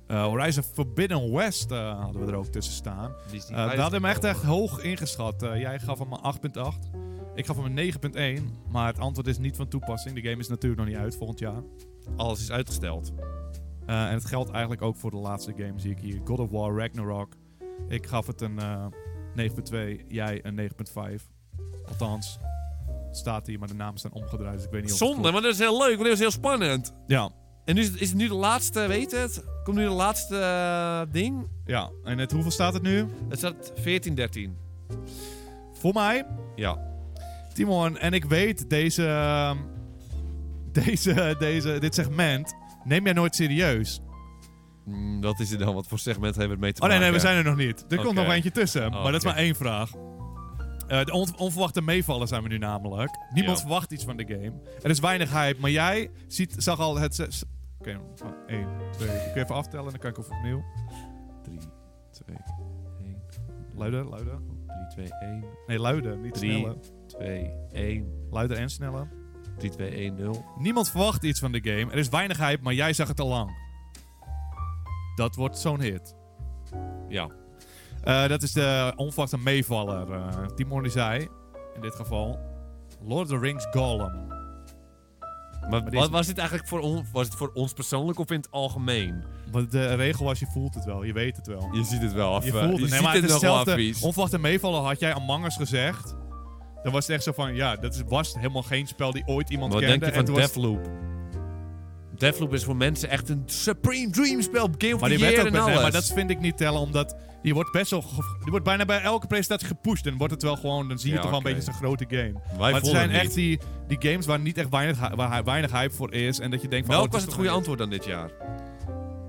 A: Eh, Horizon Forbidden West eh, hadden we er ook tussen staan.
B: Die is niet
A: Eh, we
B: uit-
A: hadden hem echt, echt hoog ingeschat. Eh, jij gaf hem een 8.8. Ik gaf hem een 9.1. Maar het antwoord is niet van toepassing. De game is natuurlijk nog niet uit volgend jaar.
B: Alles is uitgesteld.
A: Eh, en het geldt eigenlijk ook voor de laatste game, zie ik hier. God of War, Ragnarok. Ik gaf het een eh, 9.2, jij een 9.5. Althans, het staat hier, maar de namen staan omgedraaid. Dus ik weet niet of het
B: Zonde,
A: klopt.
B: maar dat is heel leuk, want dat is heel spannend.
A: Ja,
B: En nu is het, is het nu de laatste, weet je het? Komt nu de laatste eh, ding?
A: ja. En het, hoeveel staat het nu?
B: Het staat 14-13.
A: Voor mij,
B: Ja.
A: Timon, en ik weet, deze, ehm, [laughs] deze, deze, dit segment neem jij nooit serieus.
B: Mm, dat is er dan. Wat voor segment hebben we het mee te
A: Oh nee,
B: maken?
A: nee, we zijn er nog niet. Er komt
B: Oké.
A: nog eentje tussen, maar dat is
B: oké.
A: maar één vraag. Eh, de on- onverwachte meevallen zijn we nu namelijk. Niemand
B: Ja.
A: verwacht iets van de game. Er is weinig hype, maar jij ziet, zag al het... zes- Oké, maar één, twee. Ik wil even aftellen en dan kan ik even opnieuw.
B: 3, 2, 1.
A: Luider, luider.
B: 3, 2, 1.
A: Nee, luider, niet
B: Drie.
A: sneller.
B: 2, 1.
A: Luider en sneller.
B: 3, 2, 1, 0.
A: Niemand verwacht iets van de game. Er is weinig hype, maar jij zag het al lang. Dat wordt zo'n hit.
B: Ja.
A: Eh, dat is de onverwachte meevaller. eh Timon die zei, in dit geval, Lord of the Rings Gollum.
B: Maar,
A: dit is-
B: wat was dit eigenlijk voor ons? Was het voor ons persoonlijk of in het algemeen?
A: Want de regel was, je voelt het wel, je weet het wel.
B: Je ziet het wel af.
A: Je
B: eh,
A: voelt het.
B: Je
A: Nee,
B: ziet
A: maar
B: het
A: is
B: nog wel
A: hetzelfde.
B: afvies.
A: Onverwachte meevaller had jij Among Us gezegd. Dan was het echt zo van, ja, dat is, was helemaal geen spel die ooit iemand
B: Wat
A: kende.
B: denk je
A: en
B: van
A: toen was-
B: Deathloop? Deathloop is voor mensen echt een supreme dream spel. Game of
A: Maar
B: the
A: die werd
B: year
A: ook
B: en
A: met,
B: alles.
A: nee, maar dat vind ik niet tellen, omdat die wordt best wel, ge- die wordt bijna bij elke presentatie gepusht en wordt het wel gewoon, dan zie je
B: Ja,
A: toch wel
B: oké.
A: een beetje zo'n grote game.
B: Wij
A: maar het
B: vonden
A: zijn
B: het
A: echt die, die games waar niet echt weinig, hy- waar hy- weinig hype voor is en dat je denkt van.
B: Welk
A: oh,
B: was
A: is toch
B: het goede
A: een-
B: antwoord dan dit jaar?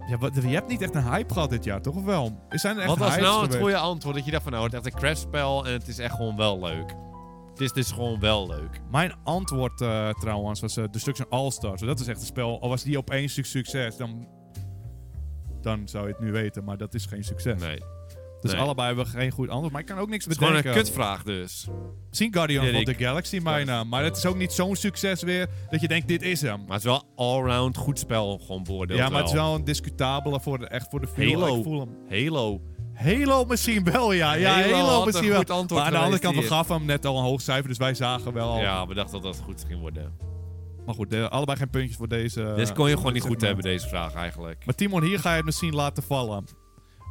A: Ja, wat- je hebt niet echt een hype gehad dit jaar, toch of wel? Er zijn er echt
B: Wat was
A: hypes
B: nou het
A: geweest.
B: goede antwoord? Dat je dacht van nou, het is echt een crashspel en het is echt gewoon wel leuk. Het is dus gewoon wel leuk.
A: Mijn antwoord eh, trouwens was eh, Destruction All Stars. Dat is echt een spel. Al was die opeens su- succes, dan, dan zou je het nu weten. Maar dat is geen succes.
B: Nee. Het
A: Dus
B: nee.
A: allebei hebben we geen goed antwoord. Maar ik kan ook niks
B: is gewoon
A: bedenken.
B: een kutvraag dus.
A: Zien Guardian
B: Erik.
A: of the Galaxy bijna. Maar het is ook niet zo'n succes weer dat je denkt, dit is hem.
B: Maar het is wel allround goed spel gewoon beoordeeld
A: Ja, maar het is wel een discutabele voor de, echt voor de viewer.
B: Halo.
A: Ik voel hem.
B: Halo.
A: Halo misschien wel, ja. ja
B: Halo
A: Halo,
B: had
A: misschien
B: een
A: wel.
B: goed antwoord
A: maar aan de andere
B: geweest
A: kant, we
B: hier.
A: gaven hem net al een hoog cijfer. Dus wij zagen wel al.
B: Ja, we dachten dat dat goed ging worden.
A: Maar goed, de- allebei geen puntjes voor deze.
B: dus kon je gewoon niet
A: dit segment.
B: goed hebben deze vraag eigenlijk.
A: Maar Timon, hier ga je het misschien laten vallen.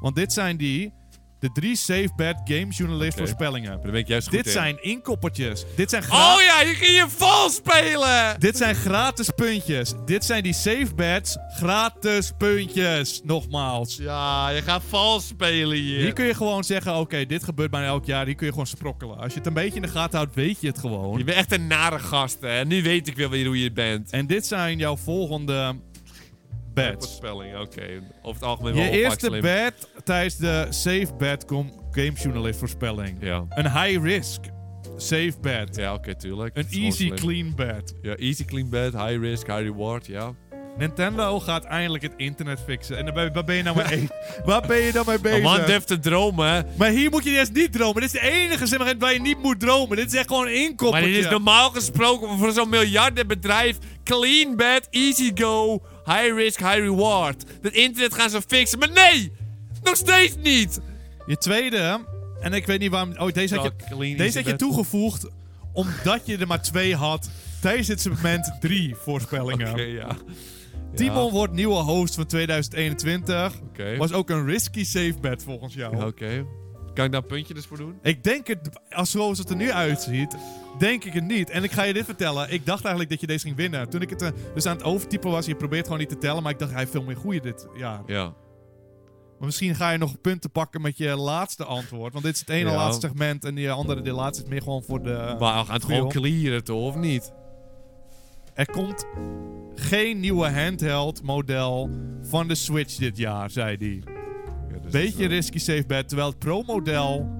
A: Want dit zijn die... De drie Safe Bet Game Journalist
B: Oké.
A: voorspellingen.
B: Daar ben ik juist goed
A: Dit
B: in.
A: zijn inkoppertjes. Dit zijn, gra-
B: Oh ja, je ging je vals spelen!
A: dit zijn gratis puntjes. Dit zijn die Safe Bets gratis puntjes. Nogmaals.
B: Ja, je gaat vals spelen
A: Hier kun je gewoon zeggen, oké, dit gebeurt bijna elk jaar. Hier kun je gewoon sprokkelen. Als je het een beetje in de gaten houdt, weet je het gewoon.
B: Je bent echt een nare gast, hè. Nu weet ik wel weer hoe je bent.
A: En dit zijn jouw volgende bets.
B: Voorspelling, oké. Over het algemeen wel
A: Je
B: vaak
A: eerste
B: slim.
A: bet tijdens de Safe Bet com- Game Journalist voorspelling.
B: Ja,
A: Een high risk safe bet.
B: ja oké, tuurlijk.
A: Een
B: Dat is gewoon
A: easy
B: slim.
A: clean bet.
B: Ja, easy clean bed, high risk, high reward, ja.
A: Nintendo gaat eindelijk het internet fixen. En daar ben- waar ben je nou
B: [laughs]
A: mee, waar ben je nou mee
B: Een
A: bezig?
B: man durft te dromen.
A: maar hier moet je eerst niet dromen. Dit is de enige segment waar je niet moet dromen. Dit is echt gewoon een
B: Maar
A: inkoppertje.
B: dit is normaal gesproken voor zo'n miljardenbedrijf. Clean bed, easy go, high risk, high reward. Dat internet gaan ze fixen, maar nee! Nog steeds niet!
A: Je tweede... En ik weet niet waarom... Oh, deze had je,
B: Ja, clean Nou, easy
A: deze had je
B: bet.
A: toegevoegd omdat je er maar twee had tijdens het segment drie voorspellingen.
B: [laughs] Oké, ja.
A: Timon wordt nieuwe host van 2021.
B: Oké.
A: Was ook een risky safe bet volgens jou.
B: Oké. Kan ik daar een puntje dus voor doen?
A: Ik denk het, als zoals het er nu uitziet, denk ik het niet. En ik ga je dit vertellen. Ik dacht eigenlijk dat je deze ging winnen. Toen ik het eh, dus aan het overtypen was, je probeert gewoon niet te tellen. Maar ik dacht, hij heeft veel meer goede dit jaar.
B: Ja.
A: Maar misschien ga je nog punten pakken met je laatste antwoord. Want dit is het ene
B: Ja.
A: laatste segment en die andere, de laatste is meer gewoon voor de...
B: Maar we gaan het gewoon
A: Veel.
B: clearen toch, of niet?
A: Er komt geen nieuwe handheld model van de Switch dit jaar, zei hij.
B: Ja, dus dat is
A: Beetje
B: wel-
A: risky safe bet, terwijl het Pro-model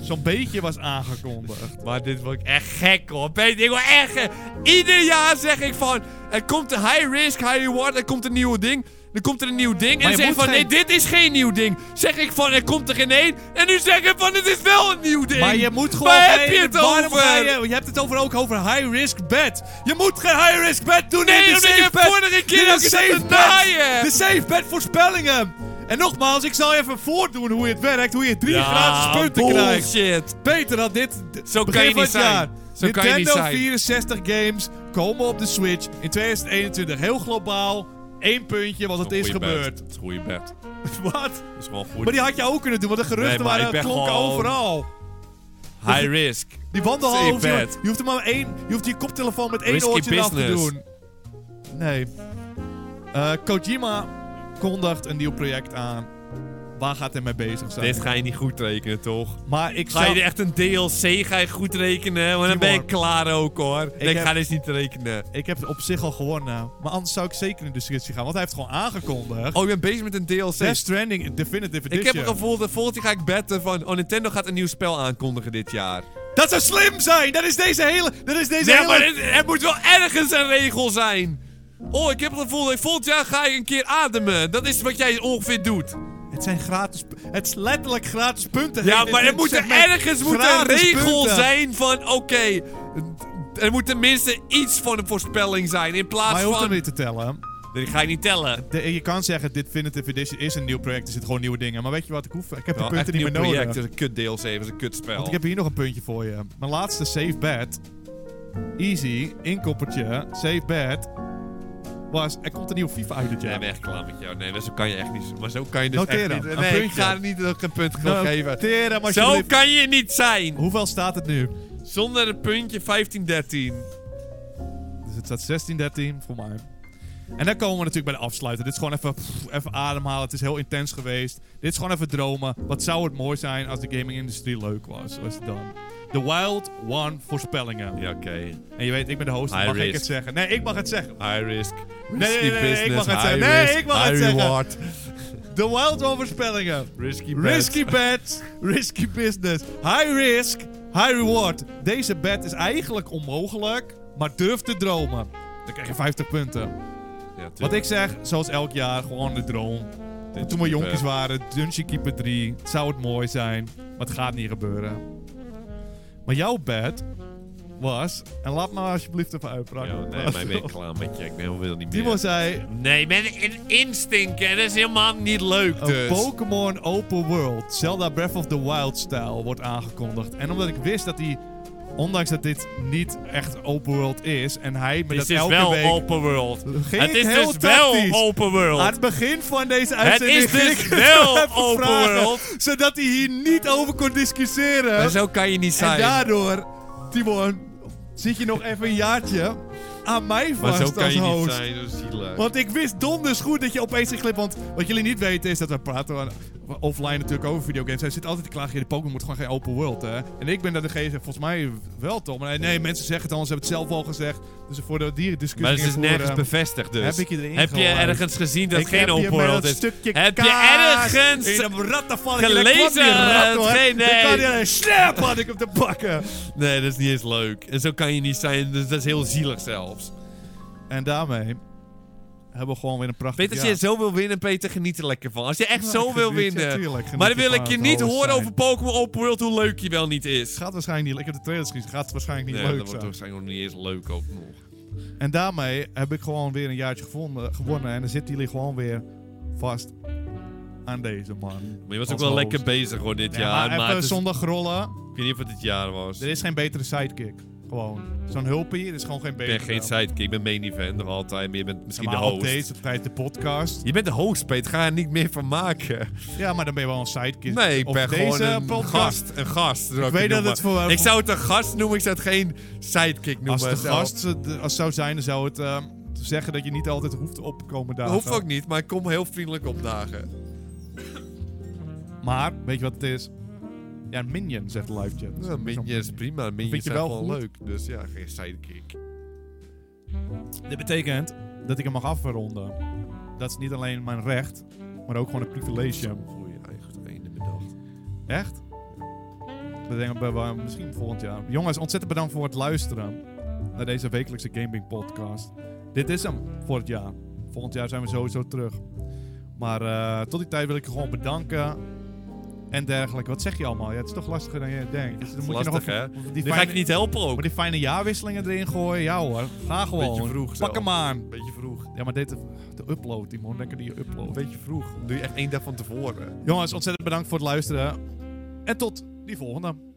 A: zo'n beetje was aangekondigd.
B: Maar dit word ik echt gek hoor. Peter, ik word echt gek. Ieder jaar zeg ik van, er komt een high risk, high reward, er komt een nieuw ding. Er komt er een nieuw ding.
A: Maar
B: en
A: je
B: zeg ik
A: moet
B: van,
A: geen-
B: nee, dit is geen nieuw ding. Zeg ik van, er komt er geen één. En nu zeg ik van, dit is wel een nieuw ding.
A: Maar je moet gewoon...
B: Waar heb
A: nee,
B: je het
A: waarom
B: over?
A: ga Je, je hebt het over ook over high-risk bed. Je moet geen high-risk bed doen
B: Nee,
A: in de
B: omdat je
A: safe bed.
B: vorige keer
A: Dit
B: ook
A: is
B: zat te
A: safe
B: naaien.
A: bed. De safe bed voorspellingen. En nogmaals, ik zal je even voordoen hoe het werkt. Hoe je drie
B: Ja,
A: gratis punten krijgt.
B: bullshit.
A: Beter dan dit. d-
B: Zo kan
A: begin
B: je
A: van
B: niet
A: het
B: zijn.
A: jaar.
B: Zo kan je niet
A: Nintendo
B: zijn.
A: 64 games komen op de Switch in 2021. Heel globaal. Eén puntje, want het is
B: Goeie bed.
A: gebeurd.
B: Het is een goede bed.
A: [laughs] Wat?
B: Dat is gewoon goed.
A: Maar die had je ook kunnen doen, want de geruchten
B: Nee, maar
A: waren
B: ik ben
A: klonken
B: gewoon-
A: overal.
B: High risk.
A: Die wandelhal
B: Safe
A: hoef je,
B: bet.
A: je hoeft er maar één, je hoeft je koptelefoon met één
B: Risky
A: oortje eraf te
B: business.
A: doen. Nee. Eh, Kojima kondigt een nieuw project aan. Waar gaat hij mee bezig zijn?
B: Dit ga je niet goed rekenen, toch?
A: Maar ik
B: Ga
A: zou...
B: je er echt een DLC ga je goed rekenen? Want dan ben je
A: Timor.
B: klaar ook hoor. Nee, ik
A: heb-
B: ga dit niet rekenen.
A: Ik heb op zich al gewonnen. Maar anders zou ik zeker in discussie gaan, want hij heeft gewoon aangekondigd.
B: Oh, ik ben bezig met een DLC.
A: Death Stranding Definitive
B: ik
A: Edition.
B: heb het gevoel dat volgend jaar ga ik betten van... Oh, Nintendo gaat een nieuw spel aankondigen dit jaar.
A: Dat zou slim zijn! Dat is deze hele... Dat is deze
B: Nee,
A: hele...
B: maar het- er moet wel ergens een regel zijn. Oh, ik heb het gevoel dat volgend jaar ga ik een keer ademen. Dat is wat jij ongeveer doet.
A: Het zijn gratis... pu- Het is letterlijk gratis punten.
B: Ja,
A: in
B: maar
A: dit
B: er moet er
A: segment.
B: ergens moet er een
A: Gratis
B: regel
A: punten.
B: zijn van... Oké, er moet tenminste iets van een voorspelling zijn. In plaats
A: Maar je hoeft
B: van...
A: hem niet te tellen.
B: Die ga ik niet tellen.
A: De- je kan zeggen, Definitive Edition is een nieuw project. Er zitten gewoon nieuwe dingen. Maar weet je wat ik hoef? Ik heb de
B: echt
A: punten niet meer
B: nieuw project.
A: nodig.
B: Dat is een kut DLC, dat is een kut spel.
A: Want ik heb hier nog een puntje voor je. Mijn laatste safe bet. Easy, inkoppertje, safe bet. Was, er komt een nieuwe FIFA uit dit
B: Nee, ik
A: jaar.
B: ben echt klaar met jou. Nee, maar zo kan je echt niet. zo- Maar zo kan je dus
A: Noteer
B: echt
A: dan,
B: niet.
A: een
B: Nee, ik
A: puntje.
B: ga er niet nog een punt
A: Nou,
B: geven.
A: Tera, maar
B: Zo
A: alsjeblieft.
B: kan je niet zijn.
A: Hoeveel staat het nu?
B: Zonder een puntje 15-13.
A: Dus het staat 16, 13 voor mij. En dan komen we natuurlijk bij de afsluiter. Dit is gewoon even, pff, even ademhalen. Het is heel intens geweest. Dit is gewoon even dromen. Wat zou het mooi zijn als de gaming-industrie leuk was? Was het dan? The Wild One voorspellingen.
B: Ja, oké.
A: En je weet, ik ben de host, dus
B: High
A: mag ik
B: risk.
A: het zeggen? Nee, ik mag het zeggen.
B: High risk.
A: nee,
B: Risky
A: nee, nee, ik mag het
B: business. high
A: zeggen. Nee,
B: risk,
A: ik mag het
B: high
A: zeggen.
B: reward.
A: De Wild One voorspellingen.
B: Risky bet.
A: Risky bet, risky business. High risk, high reward. Deze bet is eigenlijk onmogelijk, maar durf te dromen. Dan krijg je 50 punten.
B: Ja,
A: Wat ik zeg, zoals elk jaar, gewoon de droom.
B: Dit
A: Toen we
B: is,
A: jonkies
B: eh,
A: waren, Dungeon Keeper 3, het zou het mooi zijn, maar het gaat niet gebeuren. Maar jouw bed was, en laat me alsjeblieft even uitpraten.
B: Ja, nee, maar ik ben klaar met je. Ik ben helemaal niet meer.
A: Timo zei,
B: Nee, ik ben een instinker. Dat is helemaal niet leuk
A: een
B: dus.
A: Pokémon Open World, Zelda Breath of the Wild stijl, wordt aangekondigd. En omdat ik wist dat die, ondanks dat dit niet echt open world is, en hij me
B: Het
A: dat
B: is dus
A: elke
B: wel
A: week...
B: open world.
A: Ging
B: Het
A: ik
B: is
A: heel
B: dus wel
A: tactisch.
B: open world.
A: Aan het begin van deze
B: Het
A: uitzending
B: is
A: ging
B: dus
A: ik
B: wel
A: even
B: open
A: vragen,
B: world.
A: Zodat hij hier niet over kon discussiëren.
B: Maar zo kan je niet
A: en
B: zijn.
A: daardoor, Timon, zit je nog even een jaartje aan mij
B: maar
A: vast
B: zo kan
A: als
B: je
A: host.
B: niet zijn, dat is zielig.
A: Want ik wist donders goed dat je opeens een clip... Want wat jullie niet weten is dat we praten aan- offline natuurlijk over videogames. Hij zit altijd te klagen, de Pokémon moet gewoon geen open world, hè. En ik ben daar degene, volgens mij wel, Tom. Maar nee, nee, mensen zeggen het, anders hebben het zelf al gezegd. Dus voordat die discussie
B: Maar het is
A: ging
B: nergens
A: voeren,
B: bevestigd dus.
A: ehm, heb ik je erin
B: Heb je
A: geluisterd?
B: ergens gezien dat
A: Ik
B: het geen
A: heb hier
B: open
A: met
B: world
A: een
B: is?
A: stukje
B: Heb je
A: kaas
B: ergens...
A: in een rattenvallen
B: gelezen, eh, geen- nee.
A: Ik kan je een snap had ik op de bakken.
B: Nee, dat is niet eens leuk. En zo kan je niet zijn. Dus dat is heel zielig zelfs.
A: En daarmee hebben we gewoon weer een prachtig
B: Peter, als je zo wil winnen, Peter, geniet er lekker van. Als je echt
A: Nou,
B: zo
A: ik
B: wil
A: geniet-
B: winnen.
A: tuurlijk, geniet
B: maar dan wil
A: ervan
B: ik je
A: het
B: niet
A: alles
B: horen
A: zijn.
B: over Pokémon Open World hoe leuk je wel niet is.
A: gaat waarschijnlijk niet. Ik heb de trailers gezien. Gaat waarschijnlijk niet
B: nee,
A: leuk
B: dat wordt
A: zijn.
B: waarschijnlijk nog niet eens leuk ook nog.
A: En daarmee heb ik gewoon weer een jaartje gevonden, gewonnen. En dan zitten jullie gewoon weer vast aan deze man.
B: Maar je was ook
A: Als
B: wel
A: host.
B: lekker bezig hoor dit
A: Ja, maar
B: jaar. Maar
A: even
B: het is-
A: zondag rollen.
B: ik weet niet of het dit jaar was.
A: Er is geen betere sidekick. Gewoon. Zo'n hulpje, er is gewoon geen
B: Ik
A: betere.
B: ben geen sidekick, ik ben main event nog altijd. Maar je bent
A: Ja,
B: misschien
A: maar
B: de
A: op
B: host.
A: deze tijd de podcast.
B: Je bent de host, Peter. Ga er niet meer van maken.
A: Ja, maar dan ben je wel een sidekick.
B: Nee, ik
A: dus Op
B: ben
A: deze
B: gewoon een
A: podcast.
B: gast. Een gast. zou
A: weet
B: het
A: dat het
B: noemen.
A: voor-
B: Ik zou het een gast noemen, ik zou het geen sidekick noemen.
A: Als de
B: zelf.
A: gast eh, de- als het zou zijn, dan zou het eh, te zeggen dat je niet altijd hoeft op te komen
B: Dat
A: dagen.
B: hoeft ook niet, maar ik kom heel vriendelijk opdagen.
A: Maar, weet je wat het is? Ja, Minion zegt live chat.
B: Ja, Minions is Nou, prima.
A: Vind
B: Minions
A: je
B: zijn
A: wel
B: gewoon
A: goed?
B: leuk. Dus ja, geen sidekick.
A: Dit betekent dat ik hem mag afronden. Dat is niet alleen mijn recht, maar ook gewoon een privilege.
B: Goeie eigen einde bedacht.
A: Echt? bedenken bij waar- misschien volgend jaar. Jongens, ontzettend bedankt voor het luisteren naar deze wekelijkse Gaming Podcast. Dit is hem voor het jaar. Volgend jaar zijn we sowieso terug. Maar eh, tot die tijd wil ik je gewoon bedanken. En dergelijke. Wat zeg je allemaal? Ja, het is toch lastiger dan je denkt. Dus dan moet
B: lastig,
A: je nog
B: hè?
A: even- die
B: Nu ga
A: fijne-
B: ik niet helpen ook.
A: maar die fijne jaarwisselingen erin gooien, ja hoor. Ga gewoon.
B: Beetje vroeg
A: Pak
B: zelf.
A: hem aan.
B: Beetje vroeg.
A: Ja, maar dit, de upload, Timon. Lekker die upload.
B: Beetje vroeg. Doe je echt één dag van tevoren.
A: Jongens, ontzettend bedankt voor het luisteren. En tot die volgende.